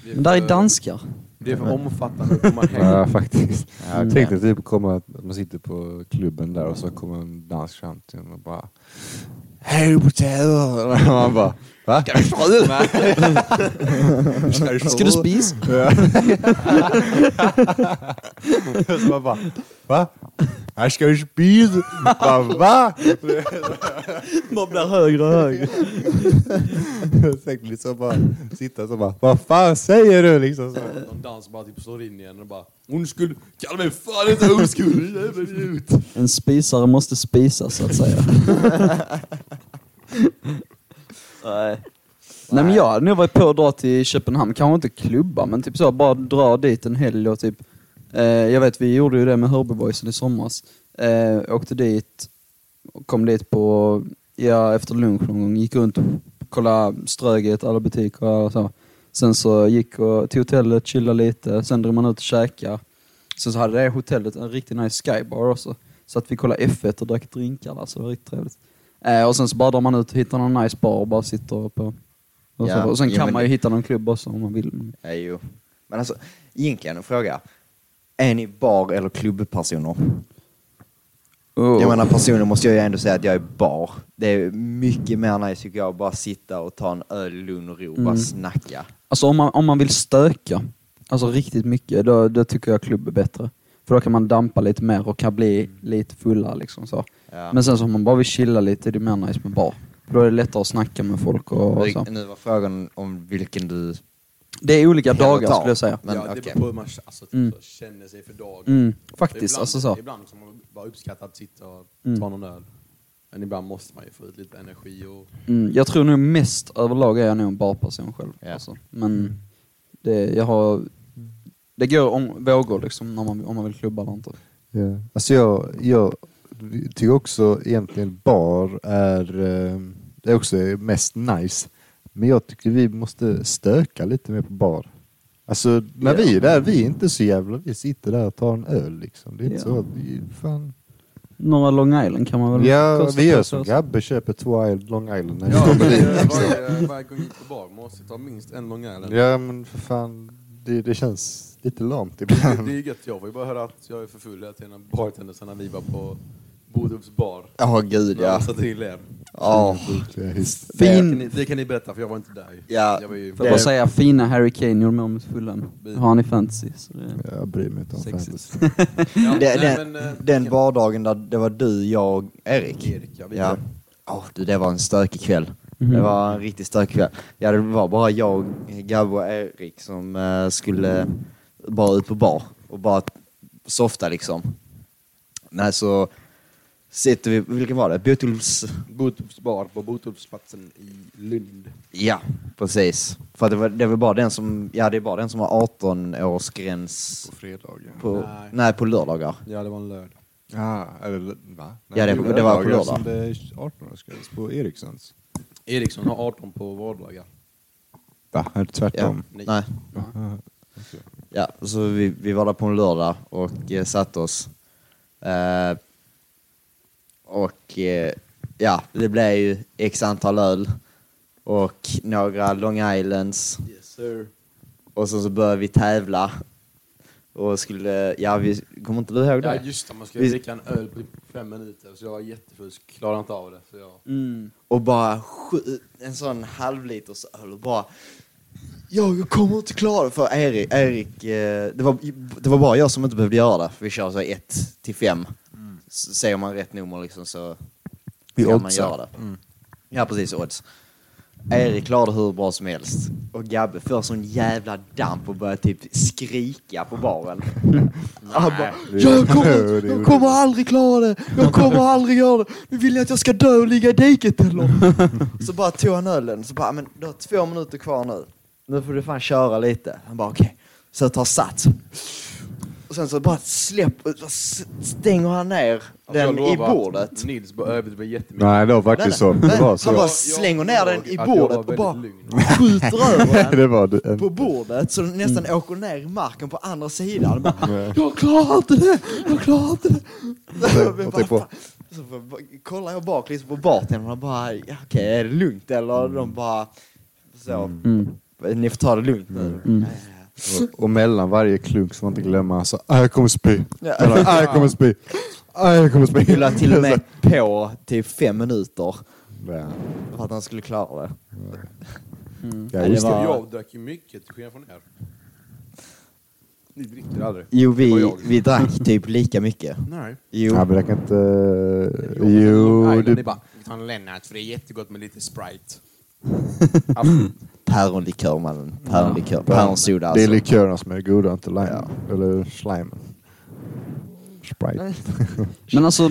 Det
Men där är
för-
danskar.
Det är för omfattande om man hänger.
Ja, faktiskt.
Ja, okej.
Tänkte typ komma, att man sitter på klubben där och så kommer en dansk fram till en och bara Hej potatis! Och (laughs) man bara Va? Ska du (laughs) fröl? (laughs) Ska du
Ska du spisa?
Ja. så (laughs) man bara Va? Här ska du spisa? Bara, (laughs) Va?
Man blir högre och
(laughs)
högre.
Jag tänkte liksom bara sitta så bara Vad fan säger du? Liksom så.
Någon dans bara typ slår in igen och bara Ondskuld, kalla mig fan inte ondskuld,
(laughs)
jävla idiot!
En spisare måste spisa så att (laughs) säga. Nej. Nej men jag hade nog varit på att dra till Köpenhamn, kanske inte klubba men typ så bara dra dit en helg och typ eh, Jag vet vi gjorde ju det med Hörbyboysen i somras. Eh, åkte dit, kom dit på, ja efter lunch någon gång, gick runt och kollade Ströget, alla butiker och så. Sen så gick och till hotellet, chillade lite, sen drog man ut och käkade. Sen så hade det hotellet en riktigt nice skybar också. Så att vi kollade F1 och drack drinkar där, så det var riktigt trevligt. Eh, och sen så bara drar man ut och hittar någon nice bar och bara sitter på... Och,
Ja,
så, och sen
jo,
kan
men
man ju
det-
hitta någon klubb också om man vill.
Ja, jo. Men alltså, egentligen en fråga. Är ni bar eller klubbpersoner?
Oh.
Jag menar personligen måste jag ju ändå säga att jag är bar. Det är mycket mer nice tycker jag att bara sitta och ta en öl i lugn och ro och bara
Mm.
snacka.
Alltså om man, om man vill stöka, alltså riktigt mycket, då, då tycker jag klubb är bättre. För då kan man dampa lite mer och kan bli lite fulla liksom så.
Ja.
Men sen så om man bara vill chilla lite, det är mer nice med bar. För då är det lättare att snacka med folk och, och
Nu-
så.
nu var frågan om vilken du...
Det är olika
Hellre
dagar
tar.
skulle jag säga.
Men
ja, det
okej.
beror på hur man alltså, typ,
Mm.
så, känner sig för dagen.
Mm,
Så
faktiskt,
ibland, typ.
alltså så.
Ibland som man bara uppskattar att sitta och
Mm.
ta någon öl. Men ibland måste man ju få ut lite
(laughs)
energi och...
Mm, jag tror nog mest överlag är jag nog en barperson själv.
Ja.
Alltså. Men det, jag har, det går om, vågor liksom när man, om man vill klubba eller inte.
Ja. Alltså jag, jag tycker också egentligen bar är, eh, det är också mest nice. Men jag tycker vi måste stöka lite mer på bar. Alltså när vi är där, vi är inte så jävla, vi sitter där och tar en öl liksom. Det är inte
Ja.
så att vi, fan.
Några Long Island kan man väl
Ja,
kosta
vi
på
gör
sig
som
också.
Gabbe, köper två Island, Long Island. när vi
Ja,
kommer dit, liksom.
varje, varje gång jag gick på bar måste jag ta minst en lång öl.
ja men för fan, det, det känns lite lamt (laughs)
Det, det
ibland.
är gött, jag får ju bara höra att jag är för full hela tiden av bartendersarna vi var på Bodums bar.
Ja, gud
Ja.
ja.
Satte till er.
Ja,
Det är his-
Det kan,
Fin,
ni, det kan ni berätta, för jag var inte där ju.
Mm. Ja,
jag var ju
får jag bara säga, fina Harry Kane gjorde mål mot Fulham. Har han i fantasy. Så det,
Jag bryr mig inte om
Sexigt.
fantasy.
Ja,
(laughs) det,
nej,
den,
men, eh,
den
kan-
vardagen där det var du, jag och Erik.
Erik, ja, vi
Ja.
där.
Åh, du, det var en stökig kväll. Det var en riktigt stökig kväll. Ja, det var bara jag, Gabbe och Erik som eh, skulle bara ut på bar och bara softa liksom. Nej, så sitter vi, vilken var det? Botols...
Botorps bar på Botorpsplatsen i Lund.
Ja, precis. För att det var, det var bara den som, ja det är bara den som har 18 årsgräns
På fredagar.
på,
Nej.
nej. på lördagar.
Ja, det var en lördag.
Ja, eller va?
Ja, det- det var på
lördagar
lördag.
som Det är 18 årsgräns på Erikssons.
Eriksson har 18 på vardagar.
Va? Är det
Ja.
tvärtom?
Nej.
Nej.
Aha.
Ja, så vi, vi var där på en lördag och eh, satte oss. Eh, och eh, ja, det blev ju x antal öl och några Long Islands.
Yes sir.
Och sen så började vi tävla. Och skulle, ja vi, kommer inte du ihåg
Ja
det?
just det, man ska
Vi-
dricka en öl på typ fem minuter. Så jag var jättefull, så klarade inte av det. Så jag...
Mm.
och bara skj- en sån halvliters öl och bara jag kommer inte klara det för Erik, Erik eh, det, var, det var bara jag som inte behövde göra det. Vi kör så 1 till 5. Säger man rätt nummer liksom så
Vi
kan man
oddsar.
göra det. Ja precis, odds. Erik klarade hur bra som helst. Och Gabbe får sån jävla damp och börjar typ skrika på baren. Han bara,
det-
jag kommer,
(laughs) det
jag
gjorde
kommer
du.
aldrig klara det! Jag kommer aldrig göra det! Men vill ni att jag ska dö och ligga i diket eller? Så bara tog han ölen, så bara, men du har två minuter kvar nu. Nu får du fan köra lite. Han bara, okej. Så jag tar sats. Och sen så bara släpp, bara s- stänger han ner
Alltså,
den
jag lovar
i
att
bordet.
Nils bara överdriver jättemycket.
Nej, det var faktiskt så. Det var
Han bara
så.
slänger ner den i
Att jag var
bordet och
väldigt
bara
lugn.
skjuter över den
(laughs) Det var det.
på bordet så den nästan åker ner i marken på andra sidan. Han Bara, jag klarar inte det! Jag klarar inte det! Vi
och
bara,
tänk på-
"Fan." Så bara- bara- kollar jag bak liksom på bartendern och bara, ja, okej är det lugnt eller? De bara, så,
Mm.
ni får ta det lugnt nu. Ja, ja, ja.
Och, och mellan varje klunk så man inte glömma så "Ah, jag kommer spy.
Ja.
Mellan, "Ah, jag kommer spy. "Ah, Jag kommer spy.
Vi la till och (laughs) med på till fem minuter
(laughs) Ja.
för att han skulle klara det.
Ja,
det
just det.
var-
Jag drack ju mycket till skillnad från er. Ni dricker aldrig.
Jo,
Och
vi,
jag.
vi drack typ lika mycket.
Nej.
Jo.
Ja, men det kan inte...
Long
Jo,
Island, det är
du...
bara, ta en Lennart för det är jättegott med lite (laughs) Sprite. Mm.
Päronlikör mannen. Päronlikör. Päronsoda
Det är
alltså.
likörerna som är goda, inte lime. Eller slime. Sprite.
Men alltså,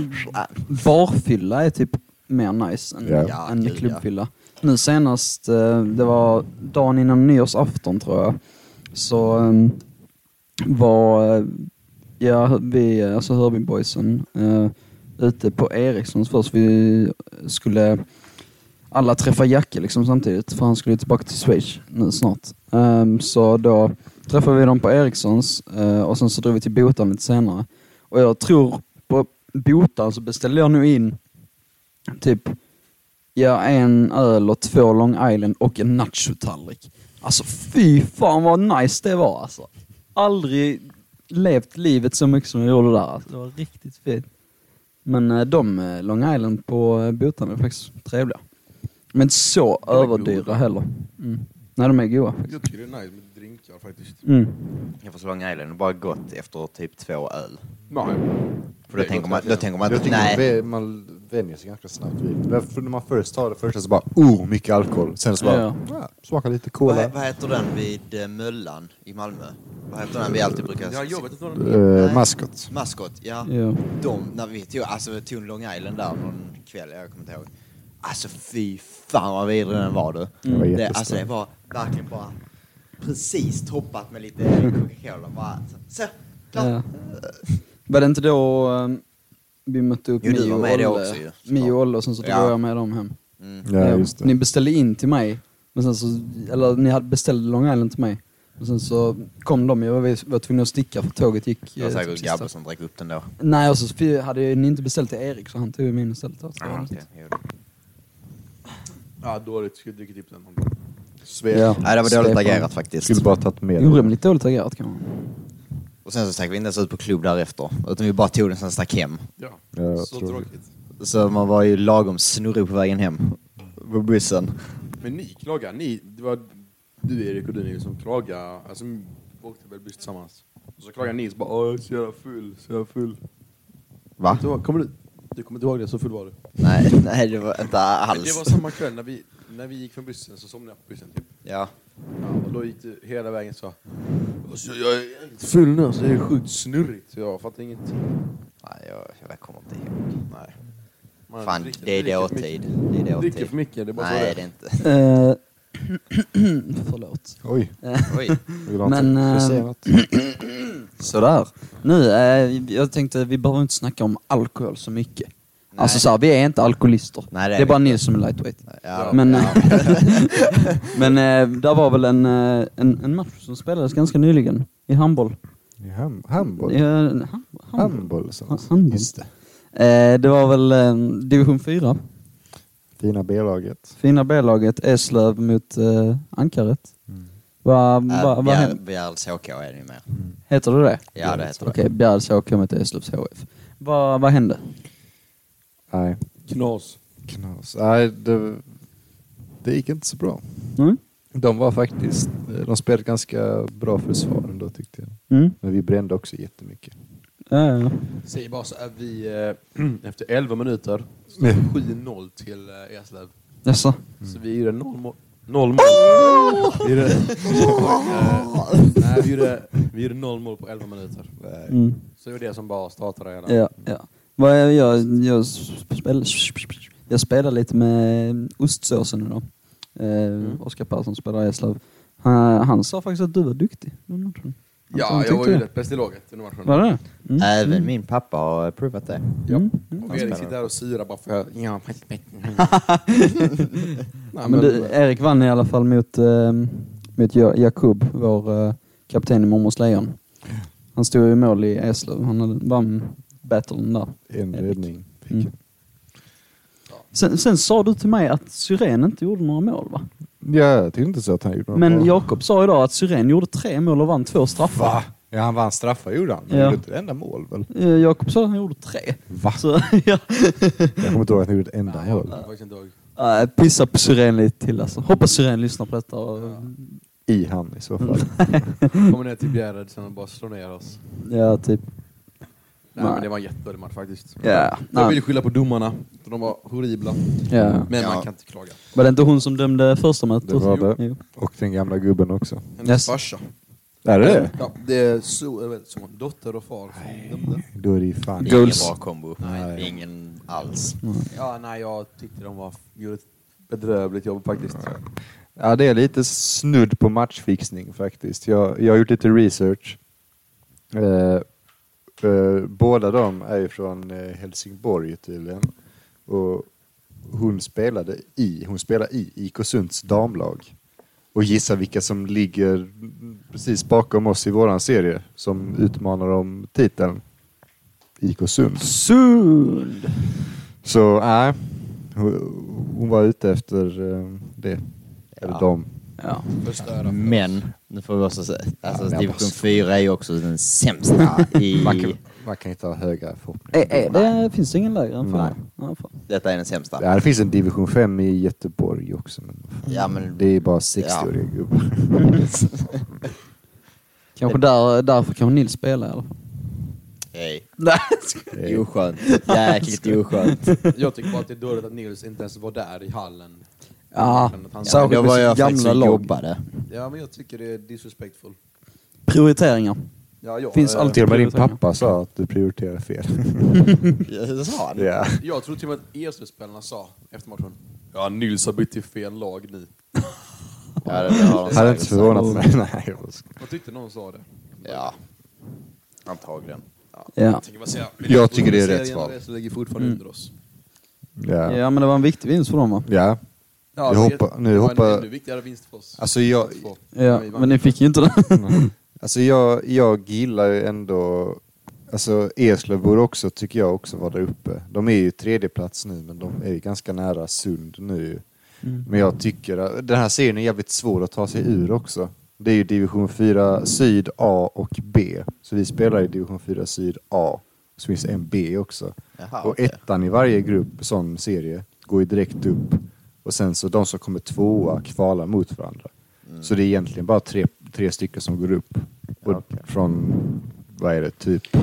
barfylla är typ mer nice än,
Ja.
Ja,
än
gud, ja.
klubbfylla. Nu senast, eh, det var dagen innan nyårsafton tror jag, så eh, var, eh, ja vi, eh, alltså Hörbyboysen, eh, ute på Erikssons först. Vi skulle alla träffa Jacke liksom samtidigt för han skulle ju tillbaka till Schweiz nu snart. Ehm, så då träffade vi dem på Erikssons eh, och sen så drog vi till Botan lite senare. Och jag tror på Botan så beställde jag nog in typ ja, en öl och två Long Island och en nachotallrik. Alltså fy fan vad nice det var alltså. Aldrig levt livet så mycket som jag gjorde där. Alltså, det var riktigt fint. Men eh, de eh, Long Island på eh, Botan är faktiskt trevliga. Men inte så
är
överdyra
goda.
heller. Mm. Nej, de är goda faktiskt.
Jag tycker det är nice med drinkar faktiskt.
Mm.
Jag får så Long Island och bara gått efter typ två öl.
Nej.
För då,
Det är
tänker man,
gott,
då
verkligen.
tänker man
Jag
inte,
tycker man,
nej.
vä- man vänjer sig ganska snabbt vid det. Därför När man först tar det första så bara oh, mycket alkohol. Sen så bara
Ja.
"Ah, smaka lite
Vad,
cola.
he- vad heter den vid eh, Möllan i Malmö? Vad heter den vi alltid brukar...
Ja, jag vet inte vad de
Eh, maskot.
Maskot, ja.
Ja.
De, när vi tog, alltså vi tog en Long Island där någon kväll, jag kommer inte ihåg. Alltså fy fan vad vidrig den var du.
Den var
Det,
jättestor.
alltså det var verkligen bara precis toppat med lite Coca-Cola bara. Så, så klart.
Ja. Var det inte då ehm, vi mötte upp
Jo, du
Mio
var
och
med då
Olle?
också ju, såklart.
Mio och Olle och sen så drog
Ja.
jag med dem hem.
Ja,
Eh,
just
Ni
det.
beställde in till mig, men sen så, eller ni hade beställt Long Island till mig. Men sen så kom de, jag var, vi var tvungen att sticka för tåget gick.
Det var
eh,
säkert
sista.
Gabbe som drack upp den då.
Nej, och så fi- hade jag- ni inte beställt till Erik så han tog ju min istället. Så det var
Ah,
något.
okej. Jo, det-
Ja, dåligt. Skulle dricka typ den.
Svea.
Ja.
Nej, det var dåligt
Stefan.
agerat faktiskt.
Skulle bara tagit med det.
Orimligt dåligt agerat kan man.
Och sen så stack vi inte ens ut på klubb därefter. Utan vi bara tog den sen stack hem.
Ja,
Ja, jag
så
tror det.
tråkigt.
Så man var ju lagom snurrig på vägen hem. På bussen.
Men ni klagar. Ni, det var du Erik och du Nils som klagade. Alltså, vi åkte väl buss tillsammans. Och så klagade Nils bara åh, så jävla full, så jävla full.
Va?
Så, kommer du, du kommer inte ihåg det, så full var du.
Nej, nej det var inte alls.
Det var samma kväll när vi, när vi gick från bussen så somnade jag på bussen typ.
Ja.
Ja, och då gick du hela vägen så. Alltså, jag är inte full nu, alltså, det är sjukt snurrigt. Så jag fattar ingenting.
Nej, jag, jag kommer inte ihåg. Nej.
Man
Fan,
dricker-
det är
dricker för
dåtid.
mycket.
Det är dåtid.
Dricker för mycket, det är bara så det
Nej,
är.
det är inte.
Eh, (clears throat) Förlåt.
Oj,
Oj.
vill du ha
Men,
något? Vill du
eh,
säga något?
Sådär. Nu, eh, jag tänkte vi behöver inte snacka om alkohol så mycket. Alltså såhär, vi är inte alkoholister.
Nej, det
det,
är
är
vi
bara Nils som är lightweight.
Ja,
men eh,
ja.
(laughs) men eh, där var väl en, eh, en, en match som spelades ganska nyligen i handboll.
I ham- handboll?
Ja, han- handboll.
Handboll
Ha-
så.
handboll.
Just det.
Eh, det var väl eh, division 4.
Fina B-laget.
Fina B-laget Eslöv mot eh, Ankaret.
Mm.
Vad va, va, vad
Äh, Bjär-
hände?
Bjärls HK är det ju mer.
Heter det det?
Ja, det heter det.
Okej, Bjärreds HK mot Eslövs HF. Vad vad hände?
Nej,
Knas.
knas. Nej, det, det gick inte så bra.
Mm?
De var faktiskt, de spelade ganska bra försvar ändå tyckte jag.
Mm?
Men vi brände också jättemycket.
Ja, ja, ja.
Säger bara så är vi eh, (clears throat) efter 11 minuter så står
Mm.
det 7-0 till eh, Eslöv.
Jaså?
Så vi gjorde noll mål. Noll mål. Vi gjorde, Eh, nej, vi, gjorde, vi gjorde noll mål på 11 minuter.
Mm.
Så det var det som bara startade hela.
Ja, ja. Vad jag, jag, jag, spel, jag spelar lite med ostsåsen idag. Eh,
Mm.
Oskar Persson spelar i Eslöv. Han, han sa faktiskt att du var duktig. den matchen. Han- han
Ja, jag
tyckte
var ju
det.
rätt bäst i laget under matchen.
Var det? Mm.
Även min pappa har provat det.
Ja.
Mm.
Och Erik sitter där och syrar bara för att... Ja,
(laughs)
men- Nej,
Men
men,
du, Erik vann i alla fall mot, eh, mot Ja- Jakub, vår eh, kapten i Mormors Lejon. Han stod i mål i Eslöv. Han hade, vann battlen där.
En
Erik.
räddning fick
Mm.
jag.
Sen, sen sa du till mig att Syren inte gjorde några mål va?
Ja, jag tyckte inte så att han gjorde något
Men
bra.
Jakob sa idag att Syren gjorde tre mål och vann två straffar.
Va? Ja, han vann straffar gjorde han. Han
Ja.
gjorde inte ett enda mål väl?
Eh, Jakob sa att han gjorde tre. (laughs)
Va?
Så, ja.
Jag kommer inte ihåg att han gjorde ett enda
Nej, jag
mål.
kommer faktiskt inte ihåg.
Eh, Pissa på Syren lite till alltså. Hoppas Syren lyssnar på detta. Och,
I han i så fall.
Mm.
Kommer ner till Bjärred sen och bara slår ner oss.
ja, typ.
Nej,
Nej.
men det var en jättedålig match faktiskt.
Ja.
Jag
Nej.
vill skylla på domarna, för de var horribla.
Ja.
Men
Ja.
man kan inte klaga.
Var det inte hon som dömde första mötet?
Det var det.
Jo.
Och den gamla gubben också.
Hennes
Yes.
farsa.
Är det det?
Ja, det är so, jag vet, son, dotter och far som dömde.
Då är det ju fan...
Go- Goals.
Ingen bra kombo.
Nej.
Ingen alls.
Ja, nej, jag tyckte de var, gjorde ett bedrövligt jobb faktiskt.
Ja, det är lite snudd på matchfixning faktiskt. Jag, jag har gjort lite research. Eh, eh, båda de är ju från eh, Helsingborg tydligen. Och hon spelade i, hon spelar i IK Sunds damlag. Och gissa vilka som ligger precis bakom oss i våran serie som utmanar om titeln. IK Sund.
Sund!
Så nej, hon, hon var ute efter eh, det. Eller
Ja.
dem.
Ja.
Förstöra.
Men, nu får vi också säga, alltså
men jag
division
måste-
4 är ju också den sämsta i...
(laughs) Man kan, man kan inte ha höga förhoppningar.
Är, är Eh, det, finns det ingen lägre än
Nej.
fyra? Nej. fan.
Detta är den sämsta.
Ja, det finns en division 5 i Göteborg också. Men fan,
Ja, men-
det är bara 60-åriga gubbar.
Kanske där, därför kan Nils spela i alla fall.
Nej.
Nej,
Det är
(laughs)
oskönt. Jäkligt oskönt.
Jag tycker bara att det är dåligt att Nils inte ens var där i hallen.
(laughs) Ja,
Att han-
särskilt
då
med
var
sitt
jag faktiskt
gamla
och
lag.
jobbade.
Ja, men jag tycker det är disrespectful.
Prioriteringar.
Ja, jag,
Finns
eh,
alltid-
Till och med din
prioriteringar.
pappa sa att du prioriterar (laughs) fel.
Jag sa det.
ja.
Jag tror till och med att Eslövsspelarna sa efter matchen. Ja, Nils har bytt till fel lag nu.
Ja, det, det har de
Hade
säkert
inte
sagt.
förvånat mig. (laughs) Nej, jag var sk-
Jag tyckte någon sa det.
Ja. Antagligen.
Ja.
Tänker man säga,
Jag tycker det är rätt svar. Mm.
Serien ligger fortfarande under oss.
ja. ja.
ja, men det var en viktig vinst för dem va?
ja. Jag
Ja, det-
hoppar- nu
det var
hoppar-
En ännu viktigare vinst för oss.
Alltså, jag,
Två.
Ja,
Vi vann.
men ni fick ju inte den.
alltså jag, jag gillar ju ändå... Alltså Eslöv borde också, tycker jag, också vara där uppe. De är ju tredje plats nu, men de är ju ganska nära Sund nu.
Mm.
Men jag tycker att den här serien är jävligt svår att ta sig ur också. Det är ju division 4 syd A och B. Så vi spelar i division 4 syd A. Så finns det en B också.
Jaha,
och
okej.
ettan i varje grupp, sån serie, går ju direkt upp. Och sen så de som kommer tvåa kvalar mot varandra. Så det är egentligen bara tre, tre stycken som går upp. Och
Ja, okej.
Från, vad är det, typ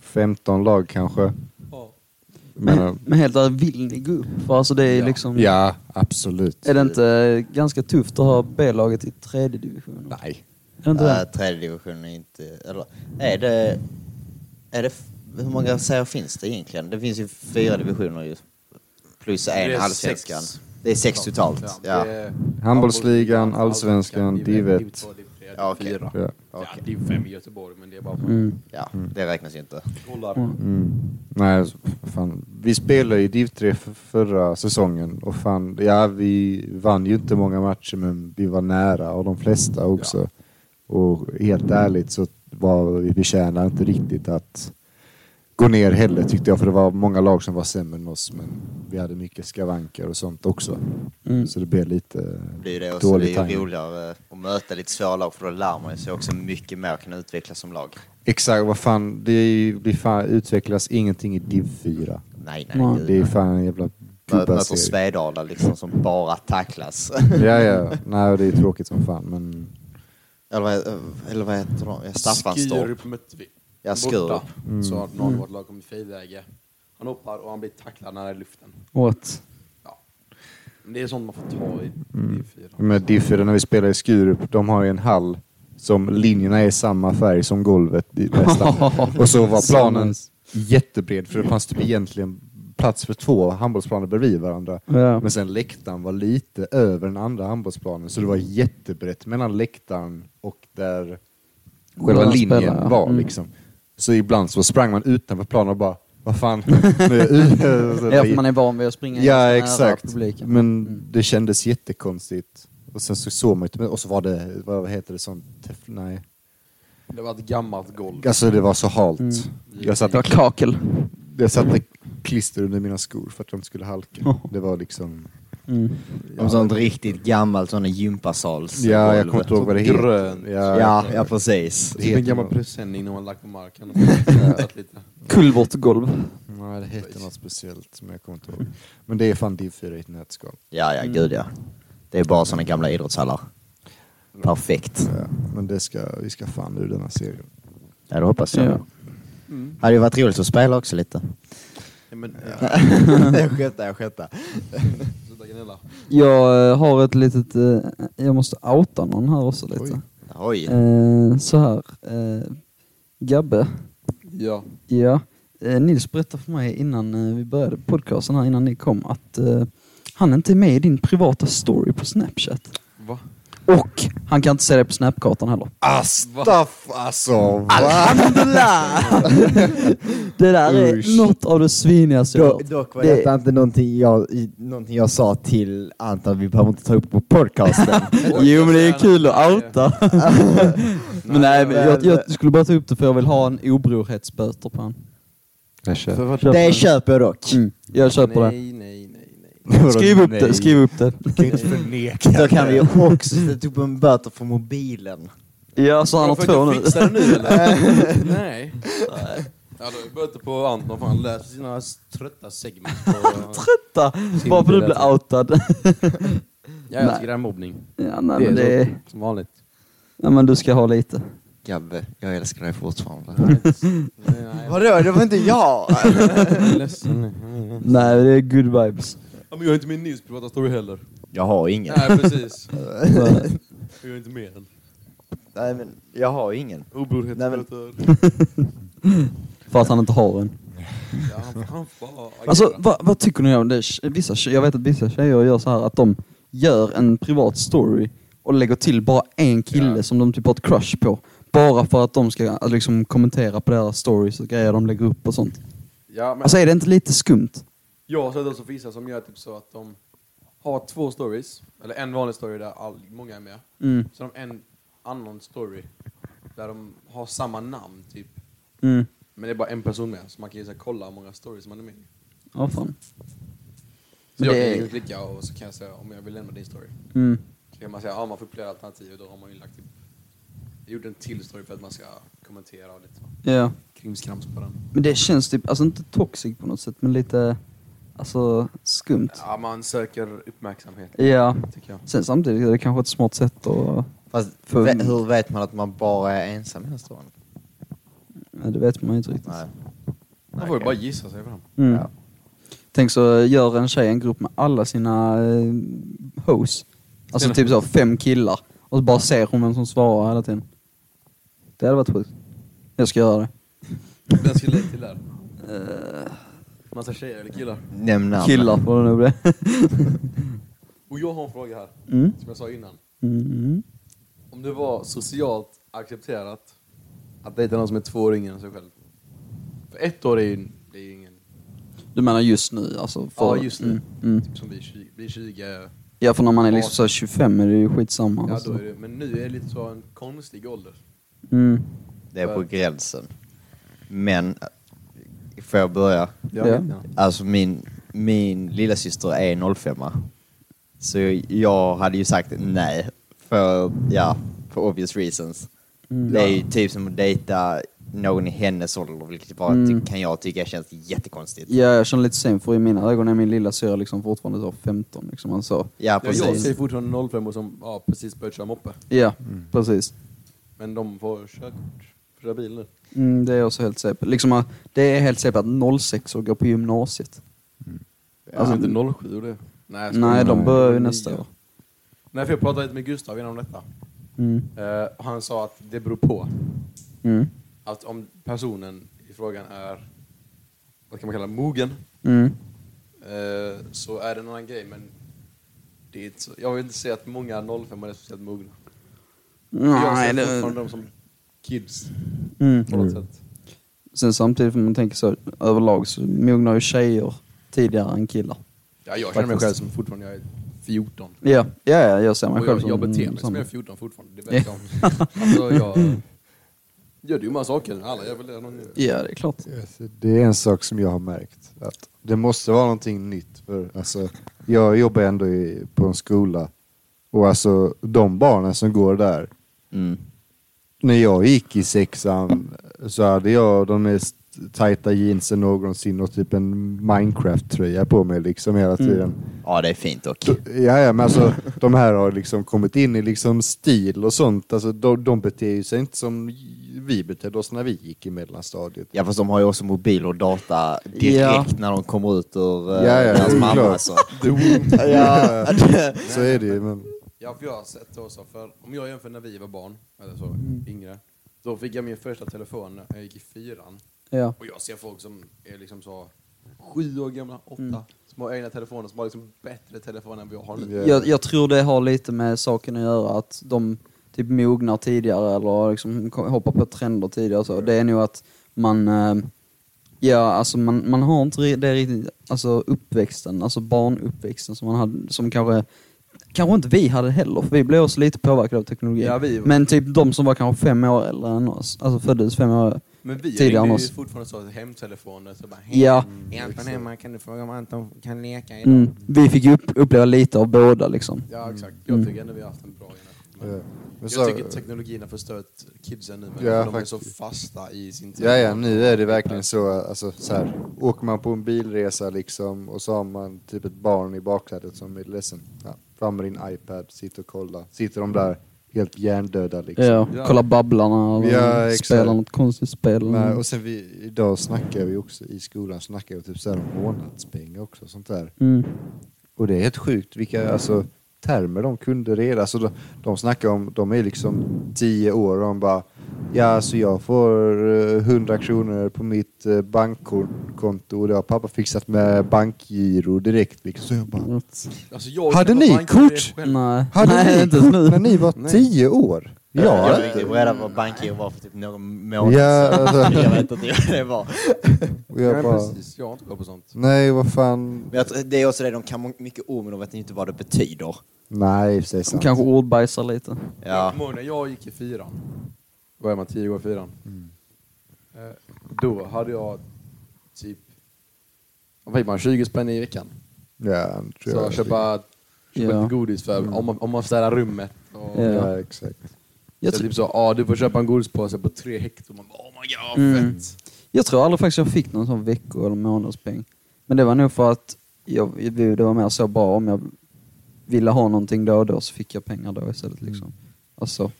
15 lag kanske.
Ja.
(clears throat)
Men,
(laughs) Men helt ärligt, vill ni gå upp? För alltså det är liksom...
ja, absolut.
Är det inte eh, ganska tufft att ha B-laget i tredje divisionen?
Nej.
Är det inte
Äh,
det?
tredje divisionen är inte... Eller, är det... Är det f- hur många serier finns det egentligen? Det finns ju fyra
Mm.
divisioner ju. Plus
Det är
en allsvenskan.
sex.
Det är sex totalt.
det
Ja.
är-
Handbollsligan, allsvenskan, div ett.
div två, div tre, div
Ja, okej.
fyra.
Ja.
Ja,
Okej.
det är fem i Göteborg, men det är bara
Äh,
för
Mm.
Ja, det räknas ju inte.
Kollar.
Mm. Nej, alltså, vad fan. Vi spelade i Div 3 för förra säsongen och fan, ja vi vann ju inte många matcher men vi var nära och de flesta också. Och helt ärligt så var vi förtjänade inte riktigt att gå ner heller tyckte jag för det var många lag som var sämre än oss men vi hade mycket skavanker och sånt också.
Mm.
Så det blev lite
Det blir ju det och så
dålig
det är ju
timing.
roligare att möta lite svåra lag för då lär man ju sig också mycket mer att kunna utvecklas som lag.
Exakt, vad fan, det, är ju- det fan, utvecklas ingenting i Div 4.
Nej, nej,
Ja,
gud.
Det är fan en jävla
Mö- Möter
gubbaserie.
Svedala liksom som bara tacklas. (laughs)
Ja, ja. Nej, det är tråkigt som fan, men...
eller, vad, eller vad heter de? Ja, Staffanstorp.
Skurup mötte vi.
Ja,
Borta.
Skurup.
Mm.
Så har någon i vårt lag kommit i friläge. Han hoppar och han blir tacklad när han är i luften.
What?
Ja. Men det är sånt man får ta i E D4.
Med Differ, när vi spelar i Skurup, de har ju en hall som linjerna är samma färg som golvet i
(laughs)
nästan. Och så var planen jättebred, för det fanns typ egentligen plats för två handbollsplaner bredvid varandra.
Ja.
Men sen läktaren var lite över den andra handbollsplanen, så det var jättebrett mellan läktaren och där själva
Mellan
linjen
spelarna, ja.
var.
Mm.
Liksom. Så ibland så sprang man utanför planen och bara, vad (laughs) fan, nu är jag ute." Så det
Ja,
var
för man är van vid att springa
Ja,
nära
exakt.
publiken.
Men det kändes jättekonstigt. Och sen så såg man ju inte- och så var det, vad heter det, sånt, tef- nej.
Det var ett gammalt golv.
Alltså det var så halt.
Mm.
Jag,
Det var
satte,
kakel.
jag satte klister under mina skor för att de inte skulle halka. Det var liksom,
Mm.
Om sånt riktigt gammalt sån gympasalsgolv.
ja jag kommer inte ihåg vad det heter.
Grönt.
Ja,
Ja, ja precis.
det
Typ en
heter
gammal
något.
presenning någon har lagt på marken. Och lite.
Kulvertgolv.
Nej, det heter något speciellt, men jag kommer inte ihåg. Men det är fan div 4 i ett nötskal.
Ja, ja, gud ja. Det är bara såna gamla idrottshallar. Mm. Perfekt.
Ja, men det ska, vi ska fan ur den här serien.
Ja, det hoppas jag.
Ja.
Hade ju varit roligt att spela också lite.
Nej, men,
jag skämtar, jag skämtar.
Sluta gnälla.
Jag eh, har ett litet... Eh, jag måste outa någon här också lite.
Oj.
Eh, så här. Eh, Gabbe.
Ja.
Ja. Eh, Nils berättade för mig innan eh, vi började podcasten här, innan ni kom, att eh, han inte är med i din privata story på Snapchat.
Va?
Och han kan inte se det på Snapkartan heller.
Astaff, alltså! Va?
Alhamdulillah! det där är
Usch.
något av det svinigaste
Typ.
jag har
Do,
hört.
dock var
Det-
detta inte någonting jag, i- någonting jag sa till Anton, vi behöver inte ta upp på
(laughs)
podcasten.
Jo men det är kul att outa. men nej, men jag, jag skulle bara ta upp det för jag vill ha en obrorhetsböter på han.
Jag kör.
det köper jag dock.
Mm. Jag köper det.
Nej, nej, nej, nej.
Skriv upp det, skriv upp det.
kan inte förneka
Då kan vi också sätta upp en böter för mobilen.
Ja, så han har
Jag får
två
inte
nu. (laughs)
Fixa det nu eller? (laughs) Nej. Ja, då böter på Anton för han läser sina trötta segment. (laughs) på-
Titta, Bara för att du blir
alltså.
outad. (laughs)
Ja, jag tycker det är mobbning.
ja, nej, men det är...
så, som vanligt.
Nej men du ska ha lite.
Gabbe, jag älskar dig fortfarande.
Nej,
(laughs)
nej,
Vadå, det var inte jag!
jag är ledsen.
Nej, det är good (laughs) vibes.
(laughs) Ja, men jag är inte med i Nils privata story heller.
(laughs) Jag har ingen.
Nej, (laughs) precis. Jag är inte med än.
Nej, men jag har ingen.
Obrorhetsböter.
För att han inte har en.
Ja, han- han får bara agera.
Alltså, vad, vad tycker ni om det? Vissa, tje- jag vet att vissa tjejer gör så här att de gör en privat story och lägger till bara en kille som de typ har ett crush på. Bara för att de ska alltså, liksom, kommentera på deras stories och grejer de lägger upp och sånt.
Ja, men
Alltså är det inte lite skumt?
Jag har sett också vissa som gör typ så att de har två stories, eller en vanlig story där all, många är med.
Mm.
Så har de en annan story där de har samma namn typ.
Mm.
Men det är bara en person med, så man kan ju så här, kolla hur många stories man är med i.
Ja, fan.
Så
Men
jag
det
kan
är-
ju klicka och så kan jag säga om jag vill lämna din story.
Mm.
Så kan man säga, ja man får upp flera alternativ och då har man ju lagt typ, jag gjorde en till story för att man ska kommentera och lite så.
Ja.
Krimskrams på den.
Men det känns typ, alltså inte toxic på något sätt, men lite alltså skumt.
Ja, man söker uppmärksamhet,
Ja.
tycker jag.
Sen samtidigt är det kanske ett smart sätt att...
Fast,
För-
ve- hur vet man att man bara är ensam i den här staden?
Ja, det vet man ju inte riktigt.
Nej.
Man får ju bara gissa sig fram.
Mm. Tänk så eh, gör en tjej en grupp med alla sina eh, hoes. Alltså typ så fem killar. Och så bara ser hon vem som svarar hela tiden. Det hade varit sjukt. Jag ska göra det.
Vem ska lägga till där? Eh, Massa tjejer eller killar?
Nämn namn.
Killar får det nog bli. (laughs)
Och jag har en fråga här,
Mm.
som jag sa innan.
Mm.
Om det var socialt accepterat att dejta någon som är två år yngre än sig själv. För ett år är ju, det är ju ingen...
Du menar just nu alltså? För,
ja, just nu.
Mm, mm.
Typ som blir 20, blir 20
Ja, för när man är liksom så här 25 är det ju skitsamma.
ja,
alltså.
då är det, men nu är det lite så en konstig ålder.
Mm.
Det är på gränsen. Men, eh, får jag börja?
Ja.
Alltså min, min lilla syster är 05 Så jag hade ju sagt nej. För, ja, för obvious reasons.
Mm.
Det är ju typ som att dejta någon i hennes ålder, vilket bara
Mm.
ty- kan jag tycka känns jättekonstigt.
Ja, jag känner lite sen för i mina ögon är min lilla syra liksom fortfarande så 15 liksom. Alltså.
Ja,
Ja, jag
precis.
ser fortfarande 05 och som ja, precis börjat köra moppe.
Ja,
Mm.
precis.
Men de får körkort för köra bil nu.
Mm, det är jag också helt säker på. Liksom, äh, det är helt säkert att 06 år går på gymnasiet.
Alltså inte 07 och det. Nej, jag skojar.
Nej, de börjar ju nästa år.
Nej, för jag pratade lite med Gustav innan om detta.
Mm.
Eh, och han sa att det beror på.
Mm.
Att om personen i frågan är, vad kan man kalla det, mogen,
Mm.
eh, så är det en annan grej. Men det är inte så, jag vill inte säga att många 05 är speciellt mogna. jag
Nej,
ser
det...
fortfarande dem som kids
Mm.
på något sätt.
Sen samtidigt, om man tänker så överlag, så mognar ju tjejer tidigare än killar.
Ja, jag känner mig
Faktiskt.
själv som fortfarande jag är 14.
Ja, ja, ja jag ser mig
Och
själv
jag,
som...
jag beter mig som jag är 14 fortfarande, det
(laughs)
vet jag om. Alltså, jag gör dumma saker. Alla gör väl det någon gång.
Ja, det är klart.
Yes, Alltså, Det är en sak som jag har märkt. Att det måste vara någonting nytt. För, alltså, jag jobbar ändå i, på en skola. Och alltså de barnen som går där.
Mm.
När jag gick i sexan så hade jag de mest tajta jeansen någonsin och typ en Minecraft-tröja på mig liksom hela tiden.
Ja, det är fint dock.
Ja, ja, men alltså de här har liksom kommit in i liksom stil och sånt. Alltså, de, de beter ju sig inte som vi betedde oss när vi gick i mellanstadiet.
Ja, fast de har ju också mobil och data direkt
Ja.
när de kommer ut ur eh,
Ja, ja, det
deras
är
mamma.
klart.
Alltså.
Ja, så är det ju. Men...
Ja, för jag har sett det också. För om jag jämför när vi var barn, eller så,
Mm.
yngre. Då fick jag min första telefon när jag gick i fyran.
Ja.
Och jag ser folk som är liksom så sju år gamla, åtta,
Mm.
som har egna telefoner, som har liksom bättre telefoner än vad jag har nu.
Jag, jag tror det har lite med saken att göra, att de typ mognar tidigare eller liksom ko- hoppar på trender tidigare. och Så. Det är nog att man, eh, ja, alltså man, man har inte ri- det riktigt, alltså uppväxten, alltså barnuppväxten som man hade, som kanske Kanske inte vi hade heller, för vi blev också lite påverkade av teknologin.
Ja, vi-
Men typ de som var kanske fem år äldre än oss, alltså föddes fem år
Men vi
tidigare än
ringde ju
oss.
fortfarande så att hemtelefoner, så bara hej.
Ja,
Är Anton hemma? Kan du fråga om Anton kan leka idag?
mm, vi fick ju upp, uppleva lite av båda liksom.
Ja, exakt. Jag tycker ändå vi har haft en bra generation. Men-
Men
jag
så-
tycker att teknologin har förstört kidsen nu, men
Ja,
de är
faktiskt.
så fasta i sin
Ja, ja, nu är det verkligen så, alltså, så här, åker man på en bilresa liksom och så har man typ ett barn i baksätet som är ledsen. Ja, fram med din iPad, sitt och kolla. Sitter de där helt hjärndöda liksom.
Ja,
Ja.
kolla Babblarna eller
Ja, exakt.
spela något konstigt spel.
Nej, och sen vi, idag snackar vi också, i skolan snackar vi typ så här om månadspeng också och sånt där.
Mm.
Och det är helt sjukt vilka alltså, termer de kunde reda. Alltså, de, de snackar om, de är liksom tio år och de bara Ja, så jag får eh, 100 kronor på mitt eh, bankkonto och det har pappa fixat med bankgiro direkt. Liksom. Så jag bara,
Alltså, jag
Hade
känner
ni
banken med det
kort?
själv.
Nej,
hade
Nej
ni
inte
kort
nu.
när ni var tio år?
jag
Ja,
fick ju reda på vad bankgiro var för typ någon månad
ja alltså,
sedan. Jag vet inte vad det var.
och
Ja,
jag
men
bara,
precis. Jag har inte koll på sånt.
nej vad fan.
Men jag, tror- det är också det, de kan mycket ord men de vet inte vad det betyder.
Nej, det är sant.
Kanske ordbajsar lite.
Jag
Ja.
kommer ihåg när jag gick i fyran. Vad är man, tio år i fyran?
Mm.
Eh, Då hade jag typ, vad fick man, 20 spänn i veckan.
Ja,
Så
tror jag.
jag köpa, köpa
Ja. Mm.
lite godis för, om, man, om man städar rummet.
Ja.
Och,
Ja, exakt.
Jag,
Så
tr-
typ så, ja du får köpa en godispåse på tre hektar. Man bara, oh my god,
Mm.
fett.
jag tror aldrig faktiskt jag fick någon sån vecko eller månadspeng. Men det var nog för att jag, det var mer så bara om jag ville ha någonting då och då så fick jag pengar då istället. Liksom. Alltså,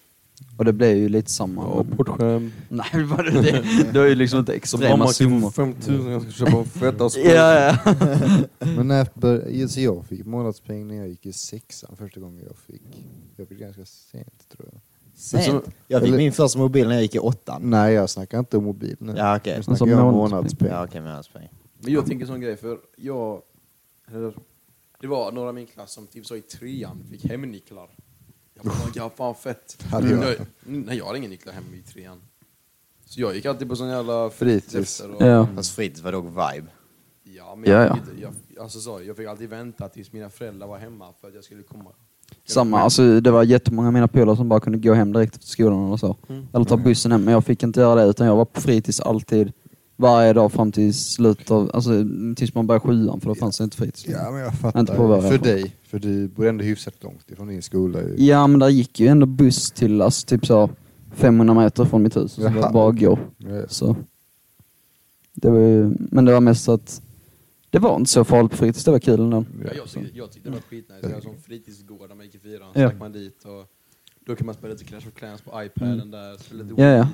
och det blev ju lite samma. men-
portskäm.
(laughs) Nej, vad det, det, det var ju liksom inte extrema summor.
5000, typ jag ska köpa
(laughs)
en feta skor.
Ja, ja.
Men när jag, började, så jag fick månadspeng när jag gick i sexan första gången jag fick. Jag fick ganska sent tror jag.
Sent. Jag fick
Eller-
min första mobil när jag gick i åttan.
Nej, jag snackar inte om mobil nu.
Ja, okej.
Nu
Alltså
snackar jag om
månadspeng.
månadspeng.
Ja, okej, men jag sprang.
Men jag tänker sån grej, för jag... eller, Det var några i min klass som typ så i trean fick hemnycklar. Jag bara, ja, fan fett.
Hade jag.
Jag, nej, jag hade ingen nycklar hem i trean. Så jag gick alltid på sån jävla
Fritids.
efter och-
Ja.
Hans fritids var dock vibe.
Ja, men jag,
Ja,
fick inte- jag, alltså, så, jag fick alltid vänta tills mina föräldrar var hemma för att jag skulle komma.
Samma, alltså det var jättemånga av mina polare som bara kunde gå hem direkt efter skolan eller så.
Mm.
Eller ta bussen hem, men jag fick inte göra det utan jag var på fritids alltid. Varje dag fram till slutet av, alltså tills man började sjuan för då fanns det inte fritids.
Ja, men jag
Inte på våra
fattar. För
fall.
dig, för du bor ändå hyfsat långt ifrån din skola. ju.
Ja men där gick ju ändå buss till alltså, typ så 500 meter från mitt hus. Så det var
Jaha.
bara att gå.
Ja.
Så. Det var ju, men det var mest att det var inte så farligt på fritids, det var kul ändå.
Ja, jag, tyckte, jag tyckte det var skitnice. Jag var som fritidsgård när man gick i fyran. Så
Ja.
gick man dit och då kan man spela lite Clash of Clans på iPaden där. Spela lite
Mm. Ja, ja.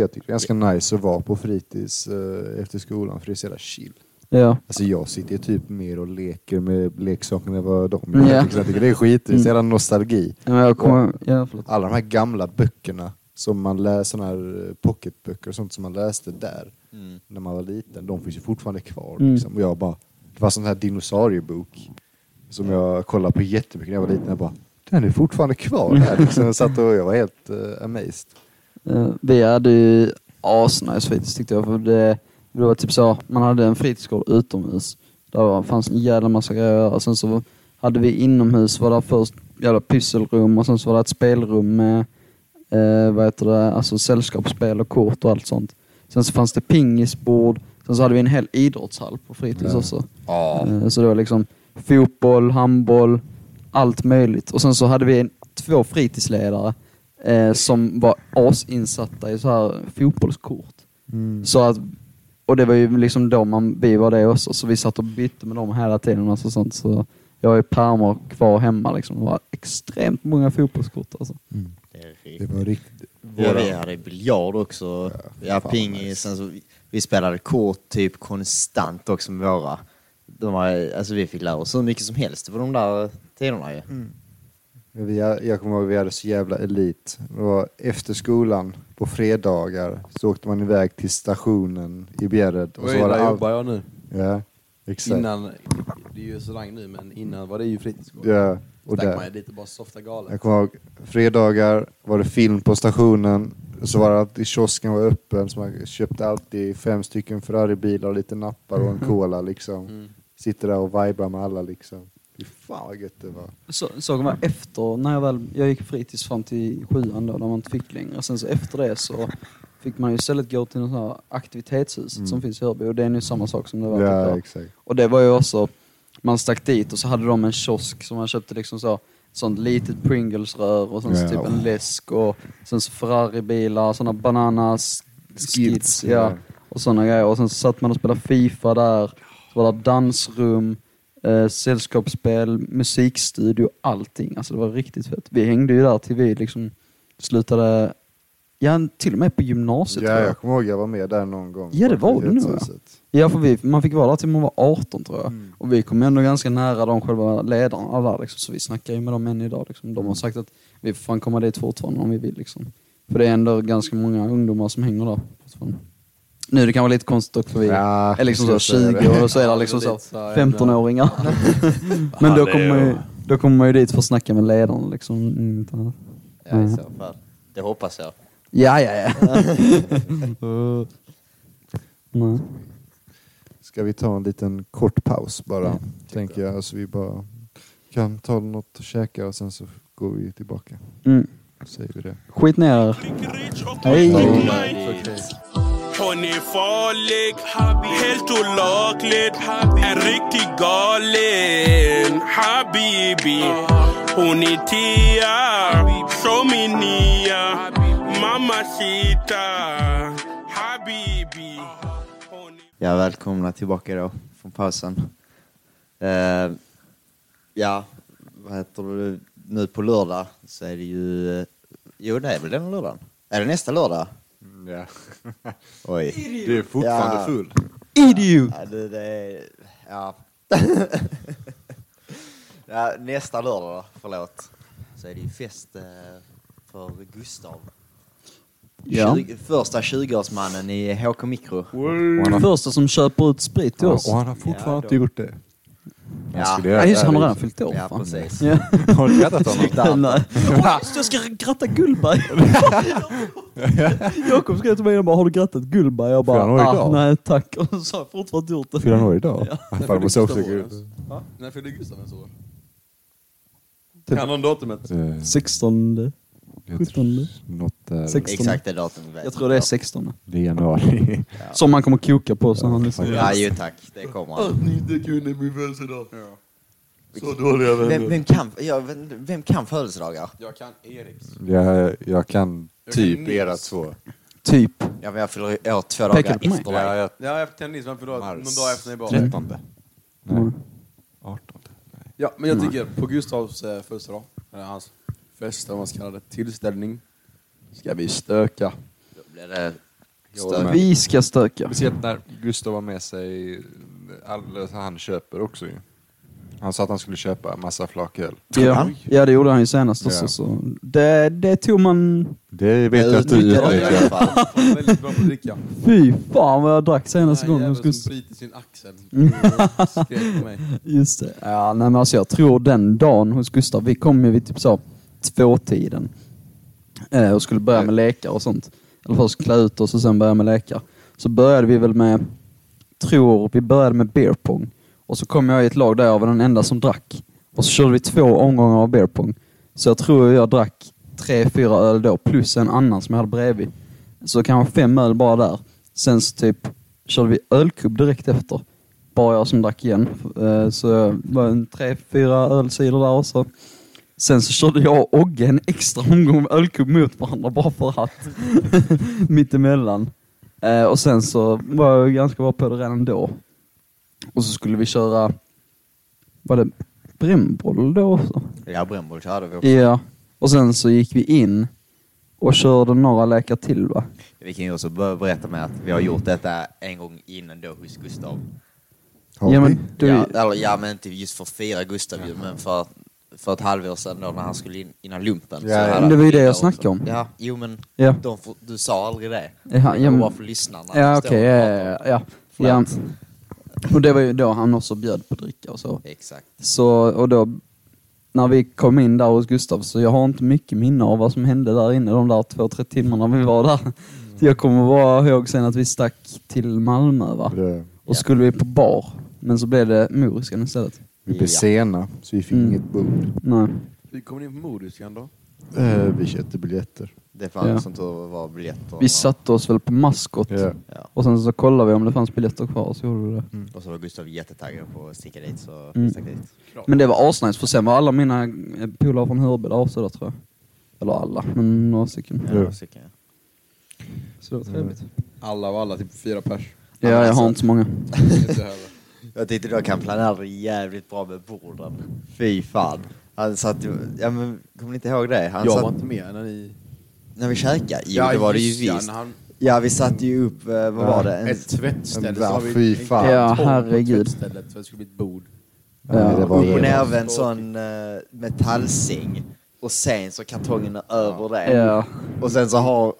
Jag tycker det är ganska nice att vara på fritids eh, efter skolan för det är så jävla chill.
Ja.
Alltså jag sitter ju typ mer och leker med leksakerna än vad de
Mm,
gör.
ja. Mm.
Jag tycker- Jag tycker det är skit, det är så jävla nostalgi.
Ja, men jag kommer, ja, förlåt.
Alla de här gamla böckerna som man läser, sådana här eh, pocketböcker och sånt som man läste där
Mm.
när man var liten, de finns ju fortfarande kvar.
Mm.
Liksom. Och jag bara, det var sån här dinosauriebok som jag kollade på jättemycket när jag var liten. Jag bara, den är fortfarande kvar här. Liksom. Jag satt och jag var helt eh, amazed.
Eh, Vi hade ju asnice fritids tyckte jag. För det, det var typ så, man hade en fritidsgård utomhus. Där var, fanns en jävla massa grejer att göra. Sen så hade vi inomhus, var där först jävla pysselrum och sen så var det ett spelrum med eh, vad heter det, alltså sällskapsspel och kort och allt sånt. Sen så fanns det pingisbord. Sen så hade vi en hel idrottshall på fritids också.
Ja.
Eh, Så det var liksom fotboll, handboll, allt möjligt. Och sen så hade vi en, två fritidsledare eh, som var asinsatta i så här fotbollskort.
Mm.
Så att, och det var ju liksom då man, vi var det också, så vi satt och bytte med dem hela tiden. Alltså sånt, så jag har ju pärmar kvar hemma liksom. Det var extremt många fotbollskort alltså.
Det är
Det
riktigt.
var riktigt...
Ja, vi hade biljard också. Ja,
fan,
pingis. Sen så vi, vi spelade kort typ konstant också med våra. De var, alltså vi fick lära oss hur mycket som helst på de där tiderna ju.
Men Vi, jag kommer ihåg vi hade så jävla elit. Det var efter skolan på fredagar så åkte man iväg till stationen i Bjärred.
Och så var det jobbar jag nu.
Ja, exakt.
Innan, det är ju restaurang nu, men innan var det ju fritidsgård.
Ja,
och
och
Stack man ju
där.
dit och bara softa galet.
Jag kommer ihåg fredagar var det film på stationen. Så var det alltid kiosken var öppen så man köpte alltid fem stycken Ferrari-bilar och lite nappar och en
Mm.
cola liksom.
Mm.
Sitter där och vibrar med alla liksom. Fy fan vad gött det var.
Så, såg man efter, när jag väl, jag gick fritids fram till sjuan då, när man inte fick längre. Sen så efter det så fick man ju istället gå till något sånt här aktivitetshuset som finns i Hörby och det är nu samma sak som det var typ
Mm. Ja,
då.
exakt.
Och det var ju också, man stack dit och så hade de en kiosk som man köpte liksom så, sånt litet Pringles-rör och sen så
Ja.
typ en läsk och sen så Ferrari-bilar, såna bananas, skids, ja.
ja.
Och såna grejer. Och sen så satt man och spelade Fifa där, så var det dansrum, eh, sällskapsspel, musikstudio, allting. Alltså det var riktigt fett. Vi hängde ju där till vi liksom slutade, ja till och med på gymnasiet
Ja,
tror jag.
jag kommer ihåg jag var med där någon gång.
Ja, det var du nog, ja.
Fritidshuset.
Ja, för vi, man fick vara där till man var 18 tror jag. Och vi kom ändå ganska nära de själva ledarna där liksom, så vi snackar ju med dem än idag. Liksom. De har sagt att vi får fan komma dit fortfarande om vi vill. Liksom. För det är ändå ganska många ungdomar som hänger där fortfarande. Nu det kan vara lite konstigt också för vi
Ja,
är liksom så
jag skulle
20
säga
och så är det
Ja,
liksom
lite
så
så här
15-åringar. Men då kommer, man ju, då kommer man ju dit för att snacka med ledarna liksom. Mm, inte annat.
Ja, i så fall. Det hoppas jag.
Ja, ja, ja. Nej.
Ska vi ta en liten kort paus bara,
Mm.
tänker jag. Så vi bara kan ta något att käka och sen så går vi tillbaka.
Mm.
Säger vi det.
Skit ner er.
Hon är farlig, helt olagligt En riktig galen habibi Hon är tia, som är nia Mamacita, habibi Hon är-
Ja, välkomna tillbaka då från pausen. Eh, ja, vad heter det? Nu på lördag så är det ju... eh, Jo, det är väl den lördagen? Är det nästa lördag?
Mm, Ja. (laughs)
Oj.
Du är
fortfarande Ja.
full.
Ja, det, det är...
(laughs)
Ja. ja. Nästa lördag då, förlåt. Så är det ju fest eh, för Gustav.
Ja.
20, första 20-årsmannen i HK Mikro.
Första som köper ut sprit till oss.
Och han har
fortfarande
fortfarande
inte
inte gjort det.
Ja.
skulle
Ja,
göra
just
det
han har
här
redan
viset.
fyllt år.
Ja,
fan.
precis.
Ja.
Har du kattat honom?
(laughs) Nej. Åh, just det, jag ska gratta
(laughs)
Gullberg. Jakob skrev till mig och bara, har du grattat Gullberg? Jag
För han var
bara,
ju
ah,
glad."
nej tack. Och så har jag fortfarande gjort det.
Fyller han år idag? Fan, jag måste också gå ut. eh,
ut. När fyllde Gustav ens år?
Typ.
Kan någon datumet?
Eh,
16.
jag tror
17.
Något där.
16.
Exakt det datumet vet
Jag tror det är 16.
Det är januari.
Som man kommer koka på. Så han liksom.
Ja, ju tack. Det kommer han.
Att ni inte kunde min födelsedag. Så dåliga
Vem,
vänner.
vem, kan, ja, vem, vem kan födelsedagar?
Jag kan Eriks.
Jag, jag kan
Jag kan
typ
minst.
era två.
Typ.
Ja, men jag fyller år
Pekar
två dagar
du på mig?
efter
Ja,
dig.
jag,
Ja, jag kan Nils, men förlåt. Någon
Mars.
dag efter ni var.
trettonde. Nej.
Mm.
Artonde.
Ja, men
Mm.
jag tycker på Gustavs eh, födelsedag, eller hans fest, eller vad man ska kalla det, tillställning, ska vi (laughs) stöka.
Då blir det
med.
stök.
Vi ska stöka.
Speciellt när Gustav har med sig allt han köper också ju. Han sa att han skulle köpa massa flaköl.
Ja, ja det gjorde han ju senast också.
Ja.
Så. Det, det tog man...
Det
Jag
vet jag att du
utnyttjar det i alla
utnyttjar.
fall.
Han är väldigt bra på att dricka.
Fy fan vad jag drack senaste
Den här
gången. Jag skulle...
jäveln som bryter sin axel. och Skrek på mig.
Just det. Ja, nej, men alltså jag tror den dagen hos Gustav, vi kom ju vid typ så tvåtiden eh, och skulle börja med lekar och sånt. Eller först klä ut oss och sen börja med lekar. Så började vi väl med, tror vi började med beer pong. Och så kom jag i ett lag där jag var den enda som drack. Och så körde vi två omgångar av beer pong. Så jag tror jag drack tre, fyra öl då, plus en annan som jag hade bredvid. Så kanske fem öl bara där. Sen så typ körde vi ölkubb direkt efter. Bara jag som drack igen. Eh, Så det var en tre, fyra ölsidor där också. Sen så körde jag och Ogge en extra omgång med ölkubb mot varandra bara för att. (laughs) Mittemellan. Eh, Och sen så var jag ganska bra på det redan då. Och så skulle vi köra, var det brännboll då också?
Ja, brännboll körde vi också.
Ja. Och sen så gick vi in och körde några läkare till va?
Vi kan ju också börja berätta med att vi har gjort detta en gång innan då hos Gustav.
Har
ja,
vi?
men, du,
Ja, eller, ja, men inte just för att fira Gustav ju, men för, för ett halvår sedan då när han skulle in innan lumpen.
Ja, ja.
hade
Men det
han
var ju det jag
också.
snackade om.
Ja, jo men
Ja.
de får, du sa aldrig det.
Ja,
det
ja,
var
men-
bara för lyssnarna.
Ja,
att förstå
okej.
vad vi
ja,
pratar om.
ja, ja, ja. ja. Och det var ju då han också bjöd på dricka och så.
Exakt.
så. Och då, när vi kom in där hos Gustav, så jag har inte mycket minne av vad som hände där inne de där två, tre timmarna vi var där. Så Jag kommer bara ihåg sen att vi stack till Malmö va?
Det-
Och skulle vi på bar. Men så blev det Moriskan istället.
Vi blev
Ja.
sena, så vi fick
Mm.
inget bord.
Nej.
Hur kom ni in på Moriskan då?
Eh, vi köpte biljetter.
Det fanns
Ja.
som tur var biljetter.
Vi satte oss väl på maskot.
Ja.
Ja. Mm.
Och sen så kollade vi om det fanns biljetter kvar, så gjorde vi det.
Och så var Gustav jättetaggad på att sticka dit, så
Mm.
vi stack dit.
Men det var asnice, för sen var alla mina eh, polare från Hörby där också då, tror jag. Eller alla, men några stycken.
Ja, så kan jag.
Så det var trevligt.
Alla var alla, typ
(laughs)
fyra pers.
Ja, jag har inte så många.
Inte över.
Jag tyckte då kan planera jävligt bra med borden. Fy fan. Han satt ju, ja men kommer ni inte ihåg det? Han
Jag
satt,
var inte med när ni...
när vi käkade? Alltså- Jo det var det ju
just ja,
visst.
när han-
Ja vi satte ju upp, eh, vad var det? En,
Ett tvättställe.
en-
så har
ja,
vi
fy
en
fan.
Ja,
kartong på
herregud.
tvättstället, så det skulle bli ett bord.
Nej, det var
upp och
det.
nervänd sån eh, metallsäng. Och sen så kartongerna över det.
Ja.
Och sen så har,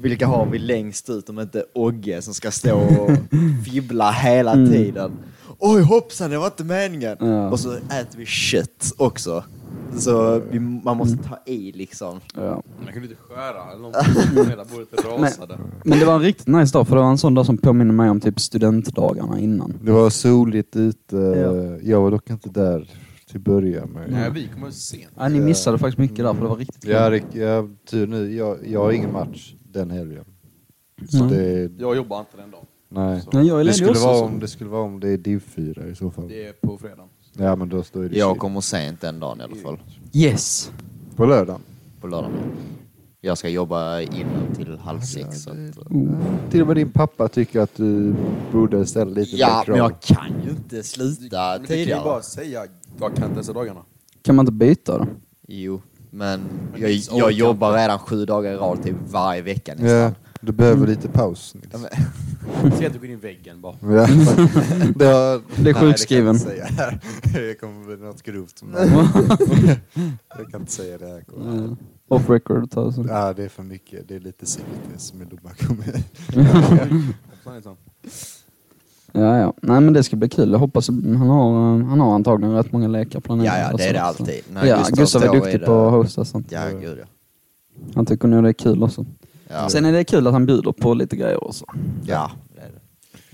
vilka har vi längst ut om inte Ogge som ska stå och
(laughs)
fibbla hela tiden. Oj hoppsan, det var inte meningen!
Mm. Ja.
Och så äter vi kött också. Så vi, man måste ta i liksom.
Ja.
Man kunde inte skära eller (laughs) någonting. Hela bordet rasade. Mm.
Men det var en riktigt nice dag, för det var en sån dag som påminner mig om typ studentdagarna innan.
Det var soligt ute.
Ja.
Jag var dock inte där till början med.
Nej, vi kommer sent.
Ja, ni missade faktiskt mycket där, för det var riktigt
Jag hade, jag, tur nu, jag, jag har ingen match den helgen. Så
Nej.
det,
Jag jobbar inte den dagen.
nej.
Nej, jag är
Det
ledig
skulle,
också.
vara
så-
om, det skulle vara om det är div 4 i så fall.
Det är på fredag.
Ja men då står det
Jag
shit.
kommer sent den dagen i alla fall,
Yes!
På lördagen?
på lördagen. Jag ska jobba innan till halv sex. Så att,
Till och med din pappa tycker att du borde ställa lite
ja,
mer
men
krav.
jag kan ju inte sluta
Men du kan ju
tidigare.
bara säga, jag kan inte ens dagarna.
Kan man inte byta då?
Jo, men
Men
jag,
Nils
jag
orkar
jobbar redan sju dagar i rad, typ varje vecka nästan.
Ja, du
Mm.
behöver lite paus Nils.
Säg att du går in i väggen (laughs) bara.
(laughs) Ja.
(laughs)
det har,
Bli sjukskriven.
Nej, det kan jag inte säga. (laughs) Jag kommer bli något grovt
(laughs)
som det. Jag kan inte säga det här. Kolla.
Mm. Off record. Ta det sen.
Ja, det är för mycket. Det är lite sekretess med Lomma kommun.
Hoppsan, hoppsan.
Ja, ja. Nej, men det ska bli kul. Jag hoppas han har, eh, han har antagligen rätt många lekar planerade.
Ja, ja, det är det
Alltså,
alltid.
Ja, Gustav, är
då
duktig på att hosta sånt.
Ja, gud ja.
Han tycker nog det är kul också.
Ja,
Sen är det kul att han bjuder på lite grejer också.
ja det är det.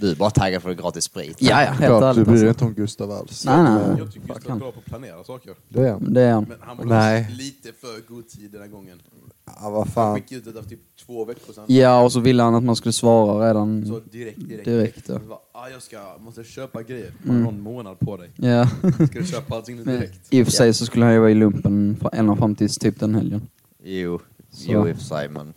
Du är bara taggad för gratis sprit.
Ja, ja, helt
Klart, du
ärligt.
bryr dig
Alltså.
inte om Gustav alls.
Nej, nej, nej.
Jag tycker
Fuck
Gustav är
han.
bra på att planera saker.
Det är han.
Det är han.
Men han var
Nej.
kanske lite för god tid den här gången.
Ja, vad
Han
fan.
skickade ut det efter typ två veckor sedan.
Ja, och så ville han att man skulle svara redan.
Så direkt, direkt.
Direkt, ja.
Så bara, ah, jag ska, måste köpa grejer. Man har någon månad på dig.
Ja.
Ska du köpa allting nu
Men
direkt?
I och för sig så skulle han ju vara i lumpen fra- ända fram tills typ den helgen.
Jo,
Så.
jo i och för sig, men...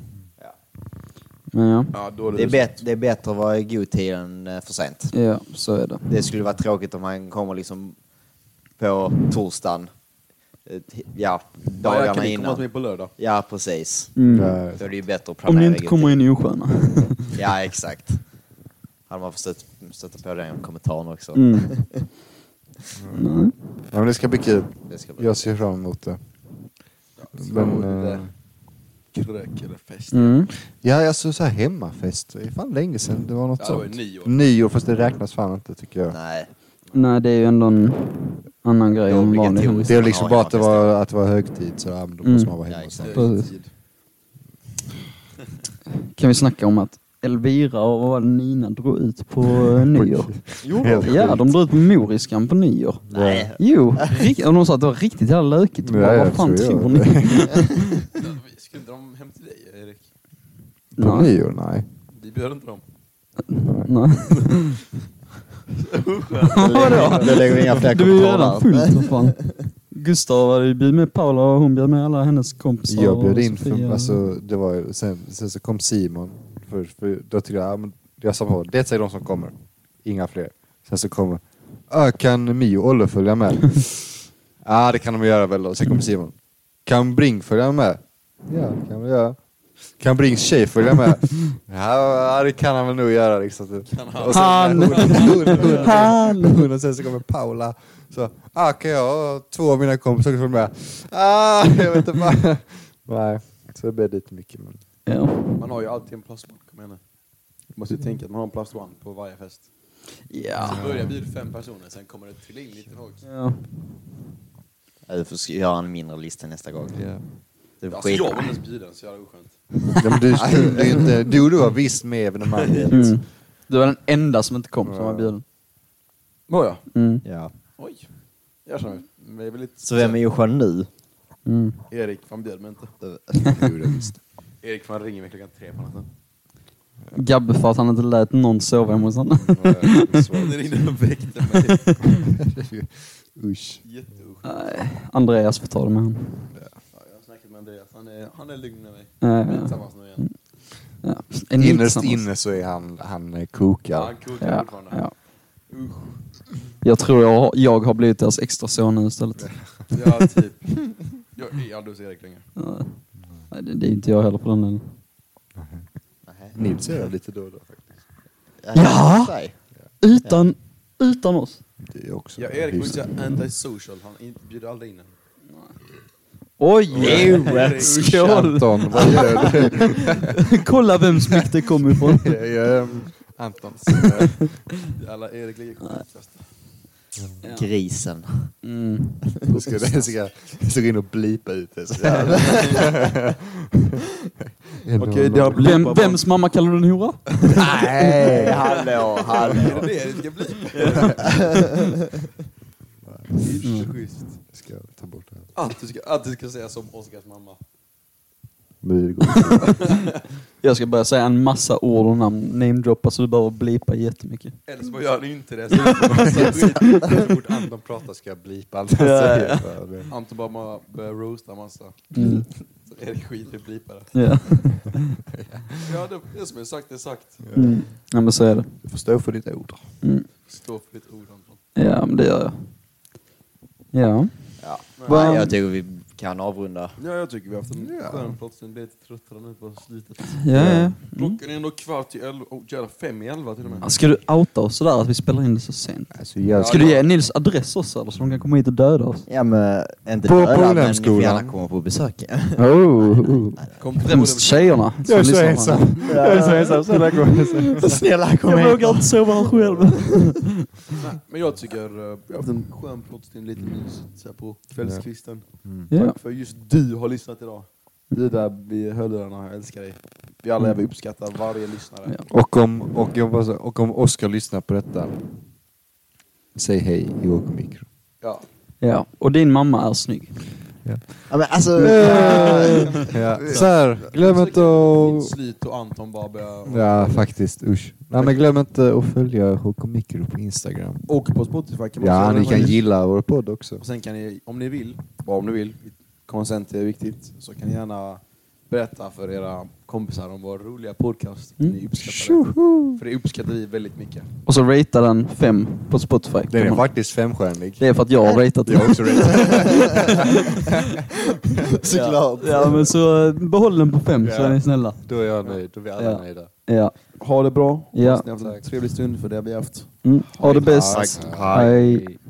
Men ja,
Ja, då är
Det
det,
är, bet- det är bättre att vara i god tid än eh, för sent.
ja så är det.
Det skulle vara tråkigt om han kommer liksom på torsdagen. eh, t- Ja,
Ja, jag kan
dagarna
ni komma till
innan.
mig på lördag?
Ja, precis.
Nej.
Då är det ju bättre att
Mm. Om
planera
ni
i
inte
god
kommer
tid.
in i osköna.
Ja, exakt. Hade man försökt stöta på den kommentaren också.
Mm.
Ja, men det ska bli kul.
Det ska bli
Jag ser fram emot det. Men, eh,
Krök eller
(laughs)
fest?
Mm.
ja, jag såg så här hemmafest. Det är fan länge sedan det var något
Ja, det var ju
sånt.
nyår.
Nyår, fast det räknas fan inte tycker jag.
Nej,
Nej, det är ju ändå en annan
Det
grej än
är
vanlig
obligatoriskt.
hemlis.
Det är
Man har
liksom bara att det
hemmafest.
var, att det var högtid så ja, men då
Mm.
måste man vara
Ja,
hemma. och
exakt.
sånt.
Kröktid.
Kan vi snacka om att Elvira och vad var det Nina drog ut på
(laughs)
eh, nyår?
Helt
Ja,
sjukt.
de drog ut på Moriskan på nyår.
Nej.
Jo, rikt- och de sa att det var riktigt jävla lökigt.
Ja,
Bara,
jag
Vad fan
tror jag.
tror ni? (laughs)
Ja, Skulle inte de hem till dig, Erik?
På
Nej.
nyår? Nej.
Vi bjöd inte dem.
Nej. (laughs) Vadå?
Då lägger vi inga fler
Det var ju
kommentarer.
redan fullt för
(laughs)
fan. Gustav hade ju bjudit med Paula och hon bjöd med alla hennes kompisar.
Jag bjöd
och
in,
Sofia.
för, alltså, det var, ju- sen, sen så kom Simon först, för då tyckte jag, ja, men jag sa på, det är de som kommer, inga fler. Sen så kommer, "Ja, kan Mio och Olle följa med?
(laughs)
Ja, ah, det kan de göra väl. Och sen kommer Simon, kan Bring följa med? Ja, det kan vi göra. Kan Brings tjej följa
(laughs)
med? Ja, det kan han väl nog göra. Liksom. Och sen,
Han.
Hon, hon,
Han!
hon, och sen så kommer Paula. Så, ah, kan jag och två av mina kompisar följa med? Ah, jag vet inte vad. Nej, så det blev lite mycket. Men...
Ja.
Man har ju alltid en plus one, kom igen nu. Du måste ju tänka att man har en plus one på varje fest.
Ja.
Ah.
Så börjar bjuda fem personer, sen kommer det till in lite folk.
Ja.
Ja, Du får sk- göra en mindre lista nästa gång. Det är
Alltså
skit.
jag var inte ens bjuden, så jag är oskönt.
Ja, men du, du, du, är inte, du, du var visst med evenemanget.
Mm. Du var den enda som inte kom som var bjuden.
Nåja.
Mm.
Ja.
Oj. Jag känner mig väldigt...
Så vem är ju skön nu?
Mm.
Erik van bjöd mig inte.
Jo, det visst.
(laughs) Erik van ringer mig klockan tre på natten.
Gabbe för att han inte lät någon sova hemma hos honom.
(laughs) Han ringde och väckte mig.
Usch.
Jätteoskönt.
(laughs) Nej, Andreas får ta det med honom.
Ja, jag har snackat med Andreas, han är, han är lugn med mig.
Ja,
Vi är
ja.
tillsammans nu igen.
Ja.
Innerst inne så är han, han eh,
Ja.
kokar.
Han kokar
Ja,
fortfarande.
ja.
Usch.
Jag tror jag har, jag har blivit deras extra son nu istället.
Ja, typ. Jag jag är aldrig hos Erik längre.
Ja. Nej, det, det är inte jag heller på den delen.
Nils är lite då och då faktiskt.
Ja! Utan, utan oss.
Det är också
Ja, Erik
hyfsat.
Mucha antisocial, han in- bjuder aldrig in en.
Oj!
Erik.
Skål!
Anton, vad gör du?
(laughs)
Kolla vems mick (laughs) det kom ifrån.
Jag, jag,
(laughs)
Antons.
Alla Erik ligger skitfest.
Grisen.
Mm.
Jag ska, jag ska, jag ska in och blipa ut det. så jävla- (laughs)
Okej, det har blivit...
Vem, vems mamma kallar du en hora?
Nej, hallå, hallå.
Är det det det ska bli? Schysst.
Jag ska ta bort det här.
Att du ska, att du ska säga som Oskars mamma.
Men det går
Jag ska börja säga en massa ord och namn, namedroppa så du behöver blipa jättemycket.
Eller så bara gör ni inte det. Så det blir (laughs) massa skit.
inte. Så fort Anton pratar ska jag blipa allt han säger. Fan, det-
Anton bara ma- börjar roasta massa.
Mm.
Så Erik skiter i att blipa det.
Ja.
Ja, det, det som är sagt är sagt.
Mm. ja, men så är det.
Du får stå för ditt ord.
Mm.
Stå för ditt ord Anton.
Ja, men det gör jag. Ja.
Ja. Nej, jag tycker vi kan avrunda.
Ja, jag tycker vi har haft en skön pratstund. Blir lite tröttare nu på slutet.
Ja, ja.
Klockan är ändå kvart i elva. Oh, jävlar, fem i elva till och med.
Ska du outa oss sådär att vi spelar in det så sent?
Alltså, jag,
Ska du ge Nils adress också eller så de kan komma hit och döda oss?
Ja, men inte
På- på
döda, men ni får
ungdomsskolan.
gärna komma på besök.
oh.
Kom på
Främst tjejerna. som
jag är så
lyssnar.
ensam.
(laughs)
(laughs) Jag är så ensam. Snälla kom.
Snälla kom
Jag
hit.
vågar inte sova här själv.
Nej, men jag tycker eh, jag har haft en skön pratstund, lite mysigt så här på kvällskvisten.
Ja.
Tack för just du har lyssnat idag. Du där vid hörlurarna, jag älskar dig. Vi alla jag uppskattar varje lyssnare.
Ja.
Och om, och, jag bara, så- och om Oskar lyssnar på detta, säg hej i Åker Mikro.
Ja.
ja. Och din mamma är snygg.
Ja, men alltså,
Ja. Så här, glöm inte
Mitt
att...
Slit och Anton bara börjar...
Ja, faktiskt. Usch. Nej, men glöm inte att följa HK Mikro på Instagram.
Och på Spotify kan man
Ja,
också-
ni kan gilla vår podd också.
Och sen kan ni, om ni vill, bara om ni vill, konsent är viktigt, så kan ni gärna berätta för era kompisar om vår roliga podcast. Ni uppskattar det. För det uppskattar vi väldigt mycket.
Och så ratea den fem på Spotify.
Den är
Kommer.
faktiskt femstjärnig.
Det är för att jag har ratat den.
Jag också rätt.
Såklart. Ja, men så eh, behåll den på fem så
Ja.
är ni snälla.
Då är jag nöjd. Då är vi alla
Ja.
nöjda.
Ja.
Ha det bra.
Ja.
Hoppas ni har haft en trevlig stund, för det har vi haft.
Mm. Ha det
Hej.
bäst.
Tack.
Hej.